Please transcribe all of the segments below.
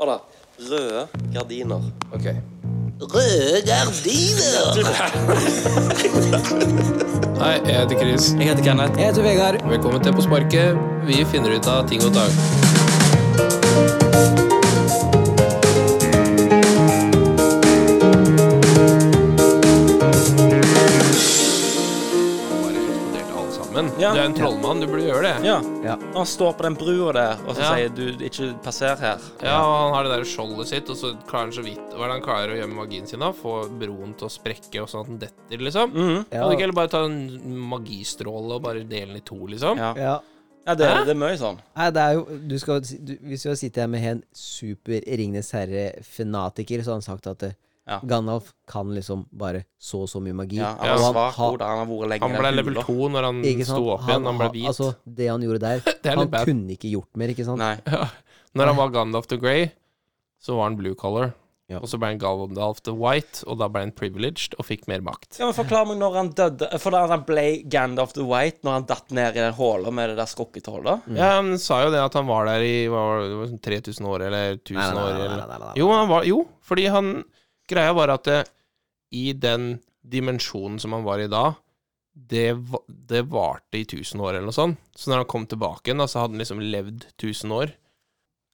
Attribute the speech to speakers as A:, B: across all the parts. A: Hør da. Røde gardiner.
B: Ok.
A: Røde gardiner!
B: Hei, jeg heter Chris.
A: Jeg heter Kenneth.
C: Jeg heter Vegard.
B: Velkommen til På sparket. Vi finner ut av ting og tang. Bare eksploderte alle sammen.
A: Ja.
B: Du er en trollmann, du burde gjøre det.
A: Ja.
C: Ja.
A: Han står på den brua der og så
B: Ja.
A: sier du ikke passer her.
B: Ja, og han har det der skjoldet sitt, og så klarer han så vidt Hva er det han klarer å gjemme magien sin av? Få broen til å sprekke, og sånn at den detter, liksom?
A: Mhm.
C: Ja.
B: Kan du ikke heller bare ta en magistråle og bare dele den i to, liksom?
A: Ja.
C: Ja.
A: ja, det,
B: Hæ?
A: det er mye sånn.
C: Nei, det er jo du skal, si- du, Hvis du sitter her med en super Ringnes Herre-fanatiker, så har han sagt at eh,
A: Ja.
C: Gandalf kan liksom bare så og så mye magi.
A: Ja, han
B: Ja.
A: er
C: Og
A: svak
C: har-
A: hode. Han har vært lenge
B: Han
A: i
B: ble
A: den
B: level
A: hula.
B: 2 når han
C: ikke sant?
B: sto opp igjen, han ble
C: ha-
B: hvit.
C: Altså, det han gjorde der
B: det er
C: Han
B: litt bad.
C: kunne ikke gjort mer, ikke sant?
A: Nei.
B: Når han var Gandalf the Grey, så var han blue color.
C: Ja.
B: Og så ble han Gandalf the White, og da ble han privileged og fikk mer makt.
A: Ja, men Forklar meg når han døde For da han ble Gandalf the White, når han datt ned i den håla med det der skrukkete hullet
C: Mm.
B: Ja, men sa jo det at han var der i hva var det, det var sånn 3000 år eller 1000
C: Nei, nei, nei,
B: år
C: nei,
B: eller
C: nei, nei, nei, nei.
B: Jo, han var, jo, fordi han Greia var at det, i den dimensjonen som han var i da, det, va- det varte i 1000 år eller noe sånt. Så når han kom tilbake igjen, da, så hadde han liksom levd 1000 år.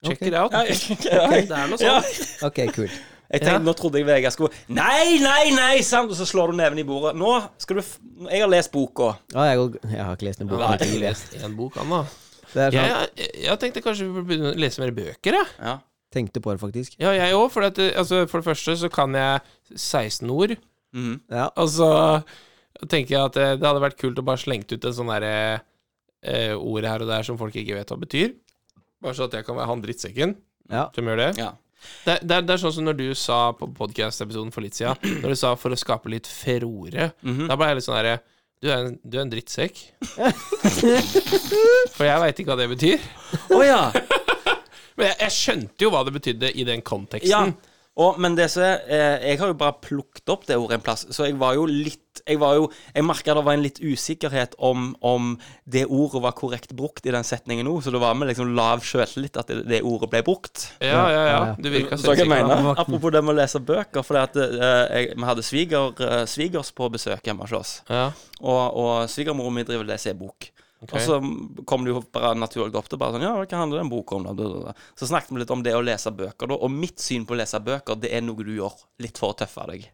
B: Check
C: Ok.
B: it out.
A: Ja,
B: Det er noe sånt.
C: Ok, kult.
A: Jeg tenkte,
B: Ja.
A: Nå trodde jeg Vegard skulle Nei, nei, nei! Sant? Og så slår du neven i bordet. Nå skal du f Jeg har lest boka.
C: Ja, jeg, går- jeg har ikke lest den
B: Han
C: boka.
B: har ikke lest én bok, han, da.
C: Det er sånn,
B: Jeg, jeg, jeg tenkte kanskje vi burde begynne å lese mer bøker, jeg.
A: Ja.
C: tenkte på det, faktisk.
B: Ja, jeg òg, for, at, eh, altså, for det første så kan jeg 16 ord.
A: Mhm.
C: Ja.
B: Og så tenker jeg at eh, det hadde vært kult å bare slengt ut en sånn derre eh, ord her og der som folk ikke vet hva betyr. Bare så at jeg kan være han drittsekken
C: Ja.
B: som gjør det.
A: ja.
B: Det, det, er- det er sånn som når du sa på podkast-episoden for litt siden, når du sa 'for å skape litt ferore',
A: Mhm.
B: da ble jeg litt sånn derre du er, en, du er en drittsekk. For jeg veit ikke hva det betyr.
A: Å ja.
B: Men jeg, jeg skjønte jo hva det betydde i den konteksten.
A: ja. Og, men det som er eh, Jeg har jo bare plukket opp det ordet en plass, så jeg var jo litt Jeg var jo Jeg merka det var en litt usikkerhet om, om det ordet var korrekt brukt i den setningen nå, så det var med liksom lav sjøltillit at det, det ordet ble brukt.
B: Ja, ja, ja.
C: ja.
B: Du virka
A: Så hva jeg
B: selvsikker.
A: mener, Apropos det med å lese bøker, for vi hadde sviger, eh, svigers på besøk hjemme hos oss.
B: Ja.
A: Og, og svigermoren min driver og leser en bok. Og så kom det jo bare naturlig opp til bare sånn Ja, hva handler den boka om, da? Da, da, da? Så snakket vi litt om det å lese bøker, da. Og mitt syn på å lese bøker, det er noe du gjør litt for å tøffe deg.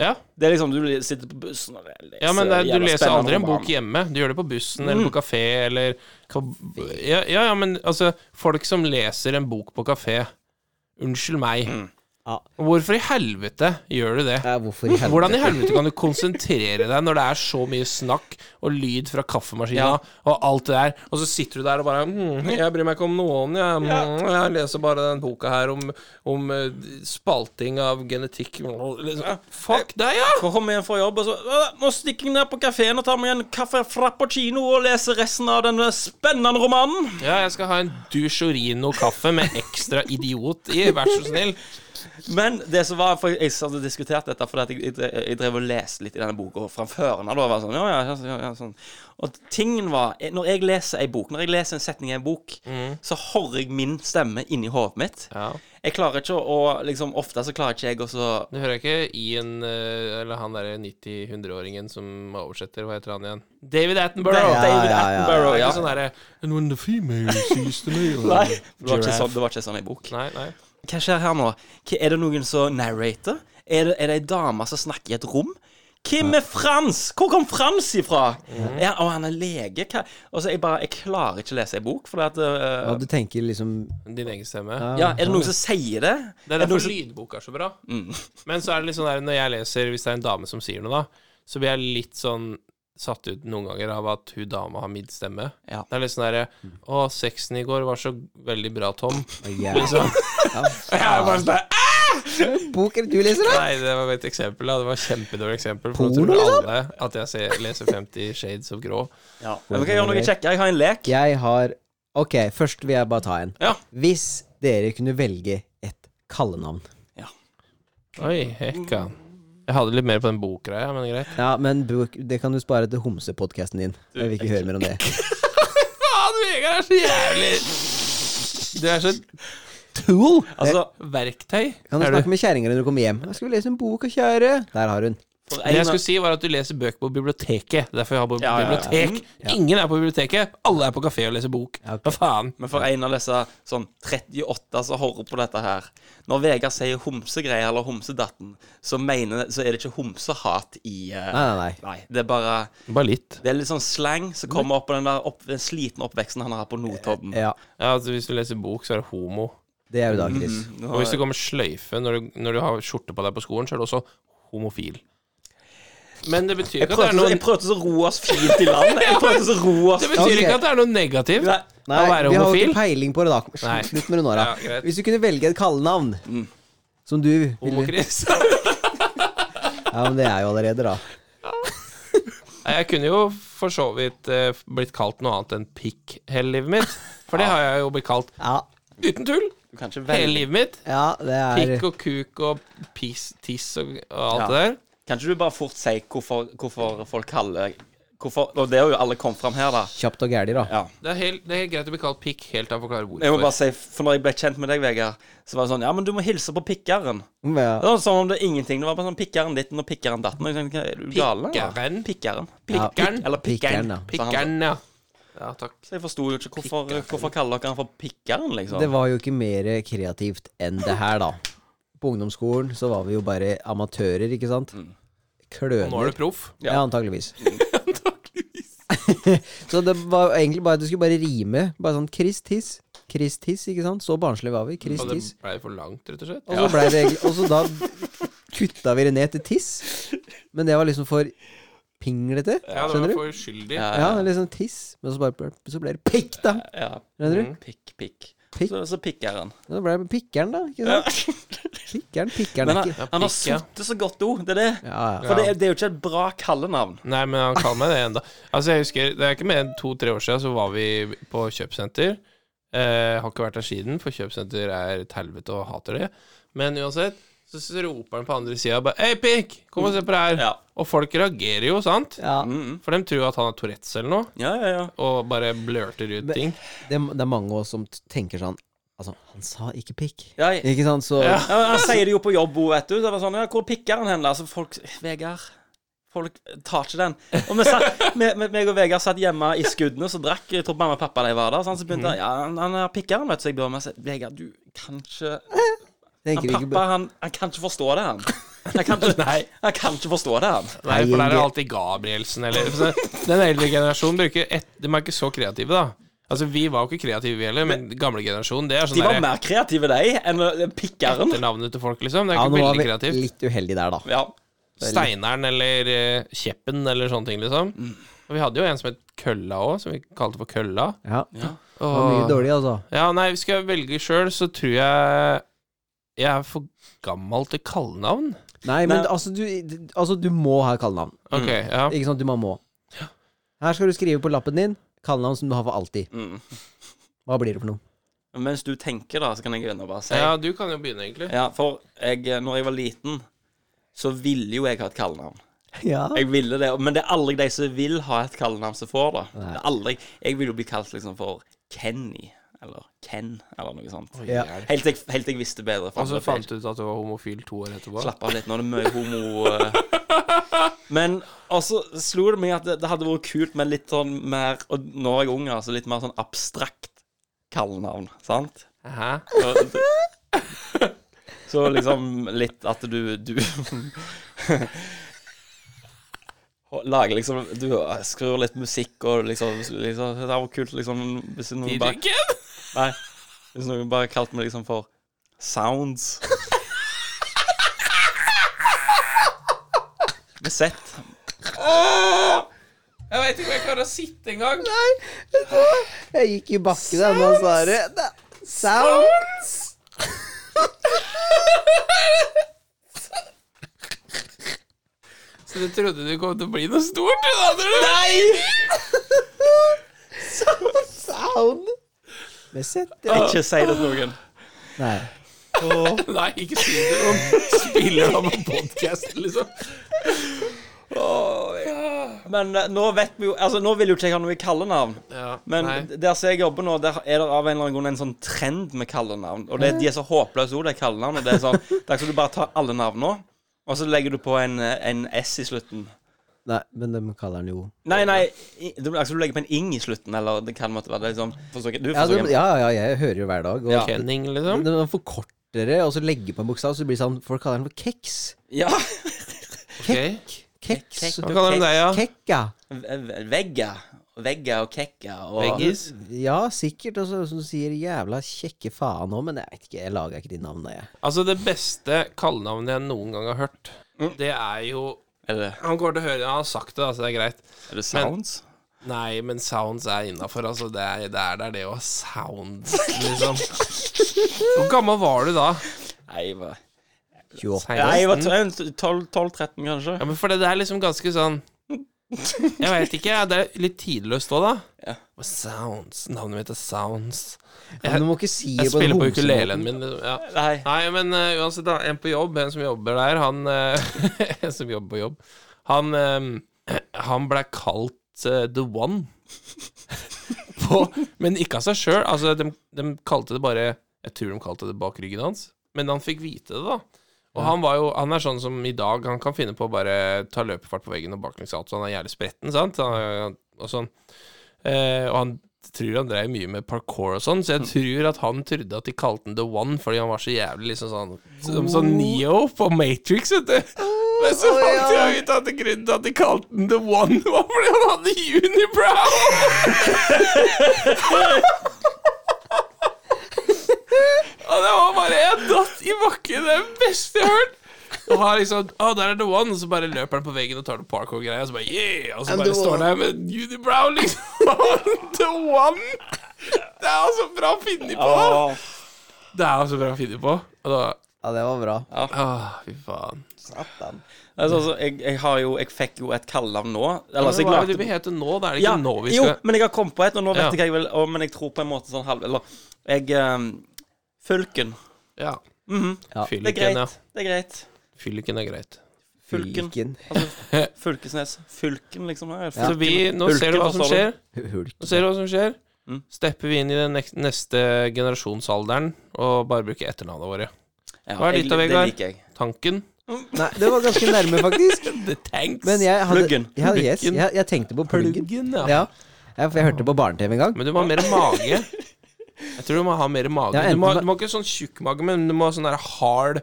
B: ja.
A: Det er liksom Du sitter på bussen og leser
B: ja, men det, er- du
A: jævla
B: leser
A: spennende
B: aldri en
A: roman. Mm.
B: bok hjemme. Du gjør det på bussen eller på kafé eller ja, ja, ja, men altså Folk som leser en bok på kafé Unnskyld meg.
A: Mm.
C: Ja.
B: Hvorfor i helvete gjør du det?
C: Ja, Eh, Hvorfor i
B: Hvordan
C: helvete?
B: i helvete kan du konsentrere deg når det er så mye snakk og lyd fra kaffemaskina
A: Ja.
B: og alt det der, og så sitter du der og bare mm, 'Jeg bryr meg ikke om noen, jeg. Mm, jeg leser bare den boka her om, om eh, spalting av genetikk' liksom. Fuck deg, ja!
A: Kom igjen fra jobb, og så «Åh, Nå stikker jeg ned på kafeen og tar meg en kaffe frappuccino og leser resten av denne spennende romanen.
B: Ja, jeg skal ha en Dushorino-kaffe med ekstra idiot i, vær så snill.
A: Men det som var for Jeg hadde diskutert dette fordi at jeg, jeg, drev- jeg drev og leste litt i denne boka fra før av. da, og var Sånn, ja, ja, ja, ja, ja, sånn. Og tingen var eh, Når jeg leser ei bok, når jeg leser en setning i en bok, så hører jeg min stemme inni hodet mitt.
B: Mm. Ja.
A: Jeg klarer ikke å å liksom, Ofte så klarer ikke jeg å så
B: Du hører ikke Ian, eh, eller han derre 90-100-åringen som oversetter, hva heter han igjen? David Attenborough!
C: Ja, ja, ja, ja.
B: Det
A: Attenborough,
B: er
A: ja.
B: ikke sånn derre And when the female sees the male
A: Nei, det var ikke
B: Giraffe.
A: sånn, det var ikke sånn ei bok.
B: Nei, nei.
A: Hva skjer her nå? Hva, er det noen som narrater? Er det, er det ei dame som snakker i et rom? Hvem er Frans? Hvor kom Frans ifra? Er, og han er lege? Hva? Og så jeg bare, jeg klarer ikke å lese ei bok, for at
C: Ja,
A: øh,
C: du tenker liksom
B: Din egen stemme.
A: ja, Er det noen som sier det?
B: Det er
A: Er det noen
B: derfor
A: som
B: lydbok er så bra.
A: Mm.
B: Men så er det litt sånn der når jeg leser, hvis det er en dame som sier noe, da, så blir jeg litt sånn satt ut noen ganger av at hun dama har midtstemme.
A: Ja.
B: Det er litt sånn derre Å, sexen i går var så veldig bra, Tom.
C: ja,
B: Liksom. Jeg er bare sånn der, «Æ!»
C: Bok er det du leser, da?
B: Nei, det var et eksempel. Da. Det var et kjempedårlig eksempel. For nå
C: Porno,
B: tror
C: liksom?
B: alle at jeg ser, leser 50 Shades of Grå.
A: ja. Men kan jeg gjøre noe kjekkere? Jeg har en lek.
C: Jeg har Ok, først vil jeg bare ta en.
A: Ja.
C: Hvis dere kunne velge et kallenavn
B: Oi, hekkan. Jeg hadde litt mer på den bokgreia, men greit.
C: Ja, men bok, det kan du spare til homsepodkasten din. Jeg vil ikke høre mer om det.
B: Faen, Vegard er så jævlig Du er så Tool?
A: Altså,
B: Verktøy?
C: Kan du
B: er
C: snakke med kjerringa når du kommer hjem? 'Jeg skulle lese en bok, kjære.' Der har hun.
A: for
B: Det
A: en
B: jeg
A: av-
B: skulle si, var at du leser bøker på biblioteket. Det er Derfor jeg har på
A: Ja, ja, ja.
B: bibliotek. Ingen er på biblioteket. Alle er på kafé og leser bok.
C: Ja, ok.
B: Hva faen?
A: Men for en av disse sånn 38 som hører på dette her Når Vegard sier homsegreier eller homsedatten, så, mener, så er det ikke homsehat i eh,
C: Nei, nei, nei.
A: nei. Det er bare
B: Bare litt.
A: Det er litt sånn slang som kommer opp på den der opp, den slitne oppveksten han har hatt på Notodden.
C: Ja,
B: Ja, altså Hvis du leser bok, så er det homo.
C: det er jo da, Chris.
A: Mm, nå-
B: Og hvis det kommer sløyfe når du, når du har skjorte på deg på skolen, så er du også homofil. Men det betyr ikke
A: jeg
B: at det
A: prøvde,
B: er
A: så,
B: noe
A: jeg prøvde så å ro oss fint i land. Jeg prøvde så å ro oss
B: Det betyr
C: Ok.
B: ikke at det er noe negativt
A: Nei.
C: Nei,
B: å være
C: vi har jo
B: homofil.
C: ikke peiling på det da.
B: Nei.
C: Slutt med det nå, da.
B: Ja, greit.
C: Hvis du kunne velge et kallenavn som du ville
B: Homo-Chris.
C: Ja, men det er jo allerede, da.
B: Nei, Jeg kunne jo for så vidt eh, blitt kalt noe annet enn pikk hele livet mitt. For det har jeg jo blitt kalt
C: Ja,
B: uten tull
A: Du kan ikke
B: hele
A: velge.
B: livet mitt.
C: ja det er
B: Pikk og kuk og piss, tiss og, og alt
A: Ja.
B: det der.
A: Kan ikke du bare fort si hvorfor, hvorfor folk kaller hvorfor, Og det er jo alle kom fram her, da.
C: kjapt og gæli, da.
A: Ja.
B: Det er, helt, det er helt greit å bli kalt pikk helt til han forklarer
A: Jeg må
B: hvorfor.
A: bare si, for når jeg ble kjent med deg, Vegard, så var det sånn Ja, men du må hilse på pikkeren. Det
C: Ja.
A: var som om det er ingenting. Det var bare sånn pikkeren ditt og pikkeren datten. Og jeg tenkte, er du gal, eller?
B: Pikkeren.
A: Pikkeren.
C: Ja,
B: Pikkeren.
A: Eller
C: Pikkeren,
A: pikkeren.
C: ja.
A: sa han.
B: Pikkeren, ja. Ja, takk.
A: Så jeg forsto jo ikke hvorfor, hvorfor kaller dere han for pikkeren, liksom.
C: Det var jo ikke mer kreativt enn det her, da. På ungdomsskolen så var vi jo bare amatører, ikke sant?
B: Mm. Og nå er
C: Kløner.
B: du proff.
A: Ja.
C: Ja, antageligvis. så det var egentlig bare det skulle bare rime. Bare sånn Chris Tiss. Chris Tiss, ikke sant? Så barnslig var vi. Chris
B: Og det
C: Tiss.
B: ble for langt, rett og slett.
C: Og så blei det egentlig Og så da kutta vi det ned til Tiss. Men det var liksom for pinglete.
B: Ja, det
C: skjønner
B: var
C: du?
B: for uskyldig.
A: Ja,
C: Ja,
A: ja.
C: liksom Tiss. Men så, bare, ble- så ble det pikk, da.
A: ja.
C: Skjønner
B: Mm.
C: du?
A: Pikk, pikk.
C: Pikk.
A: Så, så pikkeren.
C: Så ble det pikkeren, da. Ikke sant? Pikkeren, pikkeren
A: Men
C: er
A: han,
C: ikke
A: han har
B: pikk, ja.
A: sittet så godt òg, det er det.
C: Ja, ja.
A: For det, er- det er jo ikke et bra kallenavn.
B: Nei, men han kaller meg det enda Altså, jeg husker, det er ikke mer enn to-tre år siden, så var vi på kjøpesenter. Eh, har ikke vært der siden, for kjøpesenter er et helvete og hater det. Men uansett, så, så roper han på andre sida bare Hei, pikk! Kom og se på det her!
A: Ja.
B: Og folk reagerer jo, sant?
C: ja.
B: For de tror at han har Tourettes eller noe,
A: Ja, ja, ja.
B: og bare blørter ut
C: Men-
B: ting.
C: Det, er- det er mange av oss som t- tenker sånn Altså, han sa ikke pikk.
A: ja. ja.
C: Ikke sant? Så
A: ja men han sier det jo på jobb òg, vet du. Så Det var sånn, ja, 'Hvor er pikkeren hen?' da? Altså, folk Vegard. Folk tar ikke den. Og vi satt, vi, vi, meg og Vegard satt hjemme i skuddene og drakk. Jeg tror mamma og pappa de var der. Sånn, så
C: Mhm.
A: begynte han Ja, han- han har pikkeren, vet du. Så jeg bør med seg Vegard, du kan ikke
C: tenker
A: han,
C: vi
A: Pappa,
C: ikke
A: han, han kan ikke forstå det, han. Han kan ikke, han kan ikke forstå det, han.
B: Nei, for der er
C: Inge.
B: alltid Gabrielsen eller så Den eldre generasjonen bruker ett De er ikke så kreative, da. Altså, vi var jo ikke kreative, vi heller, men gamle generasjon, det er sånn
A: De var
B: derre-
A: mer kreative, de, enn eh, pikkeren.
B: etter navnet til folk, liksom. Det er
C: Ja,
B: ikke
C: nå var
B: veldig
C: vi
B: kreativt.
C: litt uheldige der, da.
A: Ja.
B: Steineren eller eh, Kjeppen eller sånne ting, liksom.
C: Mm.
B: Og vi hadde jo en som het Kølla òg, som vi kalte for Kølla.
C: Ja,
A: ja.
C: det var mye
B: Og,
C: dårlig, altså.
B: ja, nei, skal jeg velge sjøl, så tror jeg jeg er for gammel til kallenavn.
C: Nei, men
A: Nei.
C: altså du, altså, du må ha kallenavn.
B: Ok, ja.
C: Mm. Ikke sant? Du må må. Her skal du skrive på lappen din kallenavn som du har for alltid.
A: Mm.
C: Hva blir det for noe?
A: Mens du tenker, da, så kan jeg begynne å bare si
B: Ja, du kan jo begynne, egentlig.
A: Ja, for jeg, eh, når jeg var liten, så ville jo jeg ha et kallenavn.
C: Ja.
A: Jeg ville det, Men det er aldri de som vil ha et kallenavn, som får det. det er aldri, jeg vil jo bli kalt liksom for Kenny, eller Ken, eller noe sånt.
C: Ja.
A: Helt til jeg, helt til jeg visste bedre.
B: Og så
A: det feil.
B: fant du ut at du var homofil to år etterpå.
A: Slapp av litt, nå er det mye homo eh. Men også slo det meg at det, det hadde vært kult med litt sånn mer Og nå er jeg ung, altså. Litt mer sånn abstrakt kallenavn, sant?
B: Hæ?
A: Og det- Så liksom litt at du Du og Lager liksom Du skrur litt musikk og liksom, liksom Det hadde vært kult liksom hvis noen bare
B: Didriken?
A: Nei. Hvis noen bare kalte meg liksom for Sounds. Med Z.
B: Jeg veit ikke om jeg klarer å sitte engang.
C: Jeg gikk i bakken da han sa det. Da- Sounds!
B: Så du trodde du kom til å bli noe stort? Du, da, tror du?
C: Sound! Med sett, ja.
A: Ikke si det til noen.
C: Nei.
B: Nei, ikke si det til noen. Spiller han på podkasten, liksom? Åh, ja.
A: Men eh, nå vet vi jo Altså, nå vil jo ikke jeg ha noe i kallenavn.
B: Ja,
A: Men
B: nei.
A: der som jeg jobber nå, der er det av en eller annen grunn en sånn trend med kallenavn. Og det, de er så håpløse ord, de kallenavnene. Det er sånn Det er som du bare tar alle navnene, og så legger du på en, eh, en S i slutten.
C: Nei, men de kaller den jo
A: Nei, nei, i- du, altså, du legger på en ing i slutten, eller det kan måtte være det liksom forsøker, Du
C: ja, de,
A: forsøker.
C: ja, ja, jeg hører jo hver dag. Og
A: Ja.
B: Kenning, liksom.
C: Når man forkorter det, og så legger på en bokstav, så blir det sånn Folk kaller den for keks.
A: Ja.
B: Ok.
C: Keks.
A: Kek-
B: Hva kaller de deg, ja?
C: Kekka.
A: V- Vegga. Vegga og kekka og
B: Veggis?
C: Ja, sikkert. Og så som du sier jævla kjekke faen òg, men jeg vet ikke. Jeg lager ikke de navnene, jeg.
B: Altså, det beste kallenavnet jeg noen gang har hørt, det er jo
A: Er det,
B: Han kommer til å høre Han har sagt det, altså, det er greit.
A: er det sounds?
B: Nei, men sounds er innafor. Altså, det er det, er, det, er det å ha sounds, liksom. Hvor gammel var du da?
A: Nei, jeg var,
C: Jo.
A: nei, jeg var
B: 16?
A: 12-13, kanskje.
B: Ja, men for det, det er liksom ganske sånn Jeg veit ikke. Det er litt tidløst òg, da.
A: Ja.
B: Og Sounds. Navnet mitt er Sounds.
C: Men du må ikke si
B: Jeg
C: det den
B: spiller på
C: homsemåten.
B: ukulelen min. liksom, Ja.
A: Nei.
B: Nei, men eh, uansett, da, en på jobb, en som jobber der, han eh, En som jobber på jobb, han eh, Han ble kalt eh, The One. på, men ikke av seg sjøl. Altså, de, de kalte det bare Jeg tror de kalte det bak ryggen hans, men han fikk vite det, da. Og han var jo Han er sånn som i dag, han kan finne på å bare ta løpefart på veggen og baklengs alt, så han er jævlig spretten, sant? Han, og sånn. Eh, og han tror han drev mye med parkour og sånn, så
C: Mm.
B: jeg tror at han trodde at de kalte han The One fordi han var så jævlig liksom sånn Som
C: Oh.
B: sånn Neo på Matrix, vet du. Men så fant jeg ut at grunnen til at de kalte han The One, var fordi han hadde unibrow! og det var bare Jeg datt i bakken, det er det beste jeg har hørt. Og han liksom Å, der er The One, og så bare løper han på veggen og tar noe parkour-greier, og så bare Yeah! Og så
C: And
B: bare
C: the
B: står
C: one.
B: han der med unibrow, liksom. the One! Det er altså bra funnet på.
A: Åh.
B: Det er altså bra funnet på. Og da
C: Ja, det var bra.
B: Åh, fy faen.
A: Altså, altså, jeg, jeg, har jo, jeg fikk jo et kallenavn nå. Eller,
B: Men
A: altså, jeg
B: hva er det
A: lagde
B: vi heter nå? Da er det ikke
A: Ja,
B: nå vi
A: Jo,
B: skal
A: men jeg har kommet på et, og nå vet
B: Ja.
A: jeg hva jeg vil og, Men jeg tror på en måte sånn halv Eller jeg ehm, Fylken. Mhm,
B: Ja.
C: Ja.
A: Det er
B: Fylliken, ja.
A: greit. Det er greit.
B: Fylliken er greit.
A: Fylken.
C: Hulken.
A: Fylkesnes. Fylken, liksom. her.
B: Så
A: Fylken.
B: vi Nå ser du hva som
A: forstår du?
B: skjer.
C: Hulken.
B: Nå ser du hva som skjer.
A: Mm.
B: Stepper vi inn i den nek- neste generasjonsalderen og bare bruker etternavnene våre.
A: Ja,
B: Hva er
A: jeg-
B: ditt da, Vegard?
A: Det liker jeg.
B: Tanken.
C: Nei, det var ganske nærme, faktisk.
B: The Tanks.
C: Men jeg hadde
A: Pluggen.
C: Ja, yes,
B: Pluggen.
C: jeg, jeg tenkte på pluggen.
B: Pluggen, ja.
C: Ja. ja, for jeg hørte på Barne-TV en gang.
B: Men du må ha mer mage. Jeg tror du må ha mer mage.
C: Ja,
B: du, må,
C: enten-
B: du må ikke sånn tjukk mage, men du må ha sånn der hard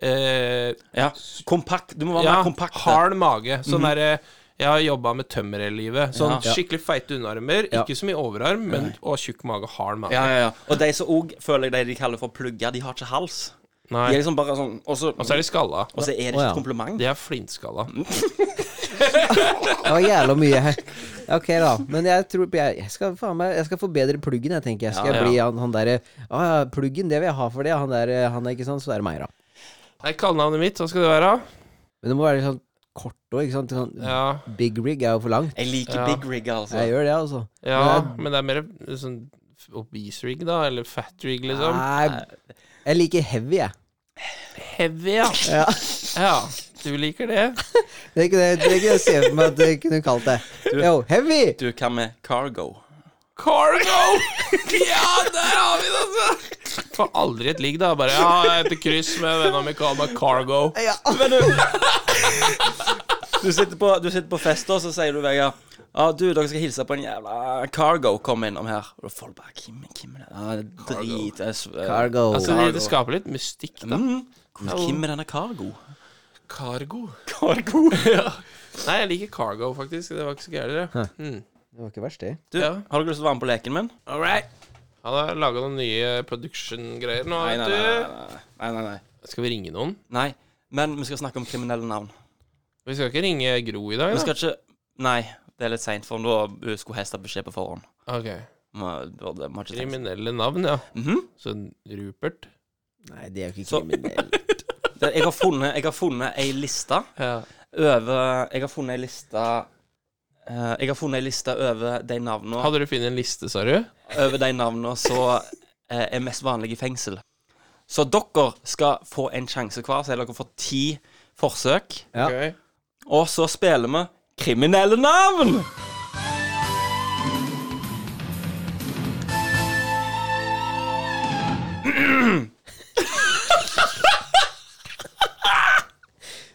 B: eh,
A: Ja. Kompakt. Du må være
B: ja,
A: mer kompakt. Mhm.
B: hard mage. Sånn derre Jeg har jobba med tømmer hele livet. Sånn
A: Ja.
B: skikkelig feite underarmer.
C: Ja.
B: Ikke så mye overarm, men og tjukk mage, hard mage.
A: Ja, ja, ja. Og de som òg føler jeg de, de kaller for plugger, de har ikke hals. De er
B: Nei.
A: liksom bare sånn Og så
B: Og så er de skalla.
A: og så er det
C: Å,
A: ikke
C: ja.
A: et kompliment.
B: De er flintskalla.
A: Mm.
C: Det var jævla mye her. Ok, da. Men jeg tror jeg, jeg skal faen meg Jeg skal forbedre pluggen, jeg, tenker jeg. Skal
B: Ja,
C: jeg
B: ja.
C: bli han, han derre Å ja, pluggen, det vil jeg ha for det. Han der, eh, han er ikke sant, så er det meg, da.
B: Nei, kallenavnet mitt, hva skal det være?
C: Men det må være litt sånn kort òg, ikke sant. Sånn,
B: Ja,
C: Big rig er jo for langt.
A: Jeg liker
B: Ja.
A: big rig, altså.
C: Jeg gjør det, altså.
B: ja men det er mer sånn obese rig, da? Eller fat rig, liksom?
A: Ah.
C: Nei, jeg liker heavy, jeg.
B: Heavy, ja.
C: Ja.
B: ja. Du liker det?
C: Det er ikke det, det er ikke det jeg ser for meg at jeg kunne kalt det. Yo, heavy!
A: Du, hva med cargo?
B: Cargo! ja, der har vi det, altså! Får aldri et ligg, da. Bare ja, jeg heter Chris, men vennene mine kaller meg Cargo.
C: Ja.
A: Men du Du sitter på, du sitter på fest, og så sier du, Vegard Ja, du, dere skal hilse på en jævla Cargo kom innom her. Og folk bare Kim, Kim er det? Ja, det er drit jeg s- eh,
C: Cargo.
B: Altså, det, det skaper litt mystikk, da.
A: mm, hvor- Kim er denne Cargo?
B: Cargo.
A: Cargo?
B: ja. Nei, jeg liker Cargo, faktisk. Det var ikke så gærent, det. Mm.
C: Det var ikke verst, det.
A: Du,
B: Ja.
A: har dere lyst til å være med på leken min?
B: All right. Han har laga noen nye production-greier nå,
A: Nei, nei,
B: vet
A: nei. nei, nei, nei.
B: du. Skal vi ringe noen?
A: Nei, Men vi skal snakke om kriminelle navn.
B: Vi skal ikke ringe Gro i dag,
A: Vi
B: da?
A: skal ikke Nei, det er litt seint, for da eh, skulle hester beskjed på forhånd.
B: Ok.
A: Vi har- vi har ikke tenkt.
B: Kriminelle navn, ja.
A: Mhm.
B: Så Rupert.
C: Nei, det er jo ikke
A: Så-
C: kriminelt.
A: sånn. Det- Jeg har funnet, jeg har funnet ei liste.
B: Ja.
A: over Jeg har funnet ei liste eh, Jeg har funnet ei liste over de navnene
B: Hadde du funnet en liste, sa du?
A: Over de navnene som eh, er mest vanlige i fengsel. Så dere skal få en sjanse hver, så dere får ti forsøk.
C: Ja.
B: Ok.
A: Og så spiller vi kriminelle navn.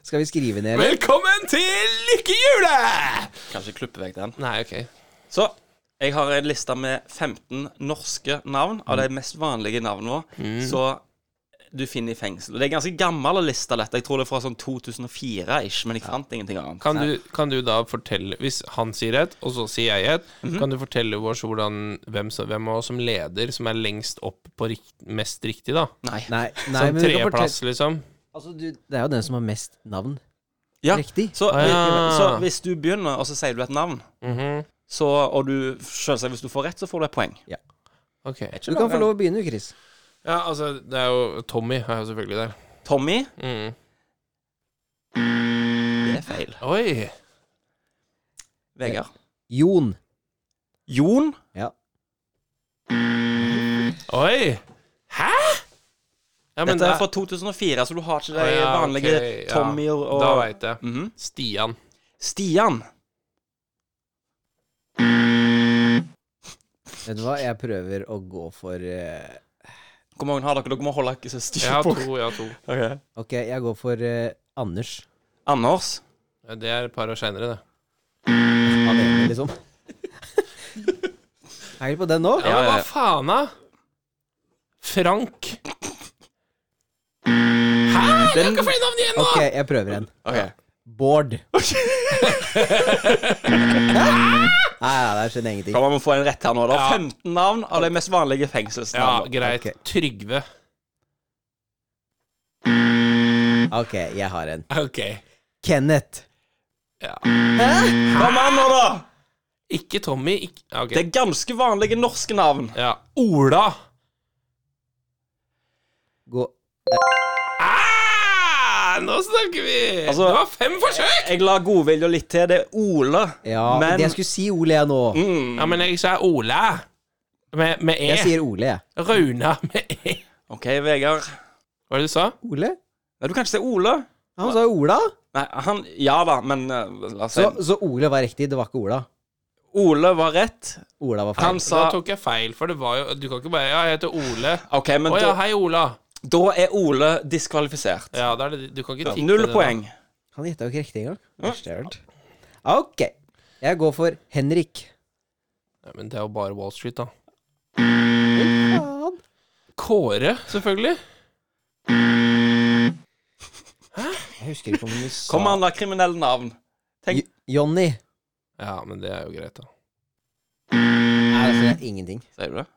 C: Skal vi skrive ned? eller?
B: Velkommen til lykkehjulet!
A: Kanskje klippe vekk den.
B: Nei, ok.
A: Så jeg har en liste med 15 norske navn av de mest vanlige navnene
B: Mm.
A: Så du finner i fengsel. Og Det er en ganske gammel liste, dette. Jeg tror det er fra sånn 2004-ish, men jeg fant ingenting annet.
B: Kan du, kan du da fortelle Hvis han sier et, og så sier jeg et,
A: Mhm.
B: kan du fortelle oss hvordan, hvem, som, hvem av oss som leder som er lengst opp på rikt, mest riktig, da?
A: Nei.
C: Nei, nei
B: Sånn
C: men du kan
B: treplass,
C: fortelle
B: liksom?
C: altså, du, Det er jo den som har mest navn.
A: Ja.
C: Riktig.
A: Så,
B: Ah.
A: så hvis du begynner, og så sier du et navn,
B: Mhm.
A: så, og du selvsagt hvis du får rett, så får du et poeng.
B: Ok.
C: Du kan få lov å begynne, Chris.
B: Ja, altså, det er jo Tommy er jo selvfølgelig der.
A: Tommy.
B: Mhm. Mm.
A: Det er feil.
B: Oi!
A: Vegard.
C: Jon.
A: Jon.
C: Ja.
B: Oi! Hæ?! Ja, men
A: Dette er
B: da-
A: fra 2004, så du har ikke de
B: Å, ja,
A: vanlige
B: ok, ja.
A: Tommy og, og
B: Da veit jeg.
A: Mhm.
B: Stian.
A: Stian.
C: Vet du hva, jeg prøver å gå for eh,
A: Hvor mange har dere? Dere må holde ikke så styr
B: Jeg har
A: på
B: to, jeg har to.
A: Ok.
C: Ok, jeg går for eh, Anders.
A: Anders.
B: Ja, Det er et par år seinere, det.
C: Alene, liksom. Heier du på den nå?
B: Ja,
A: ja, ja.
B: hva faen, da? Frank.
A: Mm.
B: Hæ?! Jeg har ikke flere navn igjen nå!
C: Ok, jeg prøver en.
A: Ok.
C: Bård. Nei, nei, det skjønner jeg ingenting.
A: Kan man få en rett her nå? da?
B: Ja.
A: 15 navn av de mest vanlige
B: Ja,
A: fengselsnavnene.
B: greit.
C: Ok.
B: Trygve.
C: Ok, jeg har en.
B: Ok.
C: Kenneth.
B: Ja.
A: Kom an nå, da!
B: Ikke Tommy, ikke ja, ok.
A: Det er ganske vanlige norske navn.
B: Ja. Ola.
C: Gå.
B: Ah, nå snakker vi!
A: Altså-
B: det var fem forsøk!
A: Jeg la godvilja litt til. Det er Ole.
C: Ja,
A: Men-
C: det jeg skulle si Ole, jeg nå.
A: Mm.
B: Ja, men jeg sa Ola. Med, med E.
C: Jeg sier Ole, jeg.
B: Rauna med E.
A: OK, Vegard.
B: Hva var det du sa?
C: Ole?
A: Nei, du kan ikke si Ole.
C: Han sa jo Ola.
A: Nei, han Ja da, men eh, la oss si
C: Så, så Ole var riktig, det var ikke Ola.
A: Ole var rett.
C: Ola var feil.
A: Han sa
B: Da tok jeg feil, for det var jo Du kan ikke bare Ja, jeg heter Ole.
A: OK,
B: Å
A: men
B: ja,
A: da,
B: hei, Ola.
A: da er Ole diskvalifisert.
B: Ja, da er det Du kan ikke tippe
A: Null
B: det da.
A: poeng.
C: Han gjetta jo ikke riktig engang. Verste jeg har hørt. Ok. Jeg går for Henrik.
B: Nei, men det er jo bare Wall Street, da.
C: Faen.
B: Kåre, selvfølgelig.
C: Jeg husker ikke om du sa
A: Kom an, da. Kriminelle navn.
C: J- Johnny.
B: Ja, men det er jo greit, da.
C: Nei, det sier altså, jeg ingenting.
A: Sier du det?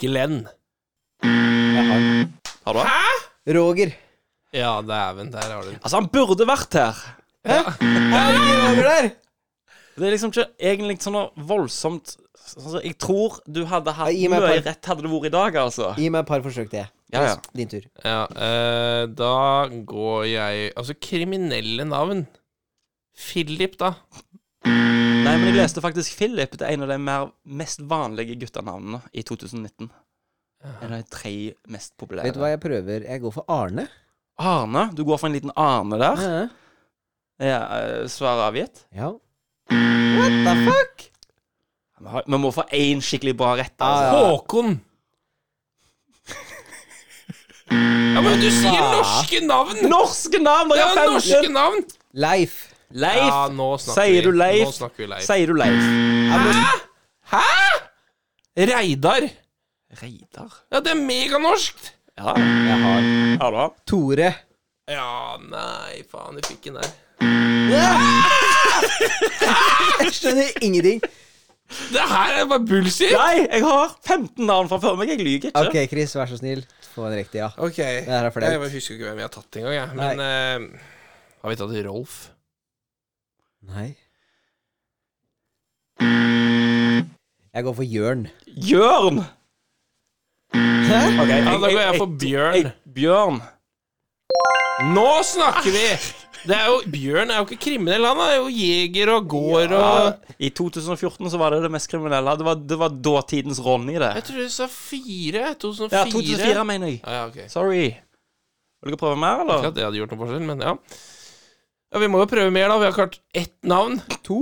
B: Glenn.
C: Jeg har
A: Har du det?
C: Roger.
B: Ja, dæven, der har du den.
A: Altså, han burde vært her.
C: Roger der!
A: Det er liksom ikke egentlig sånn noe voldsomt altså, Jeg tror du hadde hatt
C: Ja, gi meg
A: mye
C: poeng.
A: rett hadde det vært i dag, altså.
C: Gi meg et par forsøk til, jeg.
A: Ja, ja.
C: Din tur.
B: Ja, eh, da går jeg Altså, kriminelle navn. Philip, da.
A: Nei, men jeg leste faktisk Philip. Det er en av de mer, mest vanlige guttenavnene i 2019. En av de tre mest
C: Vet du hva
A: populære.
C: jeg prøver? Jeg går for Arne.
A: Arne. Du går for en liten Arne der.
C: Ja.
A: Ja, eh, Svar avgitt.
C: ja. What the fuck?
A: Vi har- Vi må få én skikkelig bra rett.
C: Ja.
B: Ah,
A: Altså.
B: Håkon. Ja, men du sier
C: Faen.
B: norske navn!
A: Norske navn! Det
B: Det
A: er
B: er jo
A: 15!
B: norske navn!
C: Leif.
A: Leif.
B: Ja, nå snakker
A: Sier du
B: vi.
A: Leif?
B: Nå snakker vi Leif.
A: Sier du Leif?
B: Reidar.
A: Reidar?
B: Ja, det er meganorsk.
A: Ja,
C: Jeg har
A: har du han?
C: Tore.
B: Ja, nei, faen, jeg fikk den der.
C: Jeg skjønner ingenting.
B: Det her er bare bullshit.
A: Nei, jeg har 15 navn fra før meg. Jeg lyver ikke.
C: Ok, Chris, vær så snill. Få en riktig, ja.
B: Ok.
C: Det her er flaut.
B: Jeg bare husker ikke hvem jeg har tatt engang, jeg. Men eh, har vi tatt Rolf?
C: Nei. Jeg går for Jørn.
A: Jørn!
C: Hæ?
A: Ok,
B: Ja, da går jeg for Bjørn.
A: Bjørn.
B: Nå snakker vi! Det er jo, Bjørn er jo ikke kriminell, han er jo jeger og går
A: Ja,
B: og
A: I 2014 så var det det mest kriminelle. Det var, det var dåtidens Ronny, det.
B: Jeg tror du sa fire? 2004?
A: Ja, 2004, mener jeg.
B: Ja, ja, ok.
A: Sorry. Vil dere prøve mer,
B: Ikke
A: eller?
B: at det hadde gjort noen forskjell, men ja. Ja, vi må jo prøve mer, da. Vi har klart ett navn.
C: To?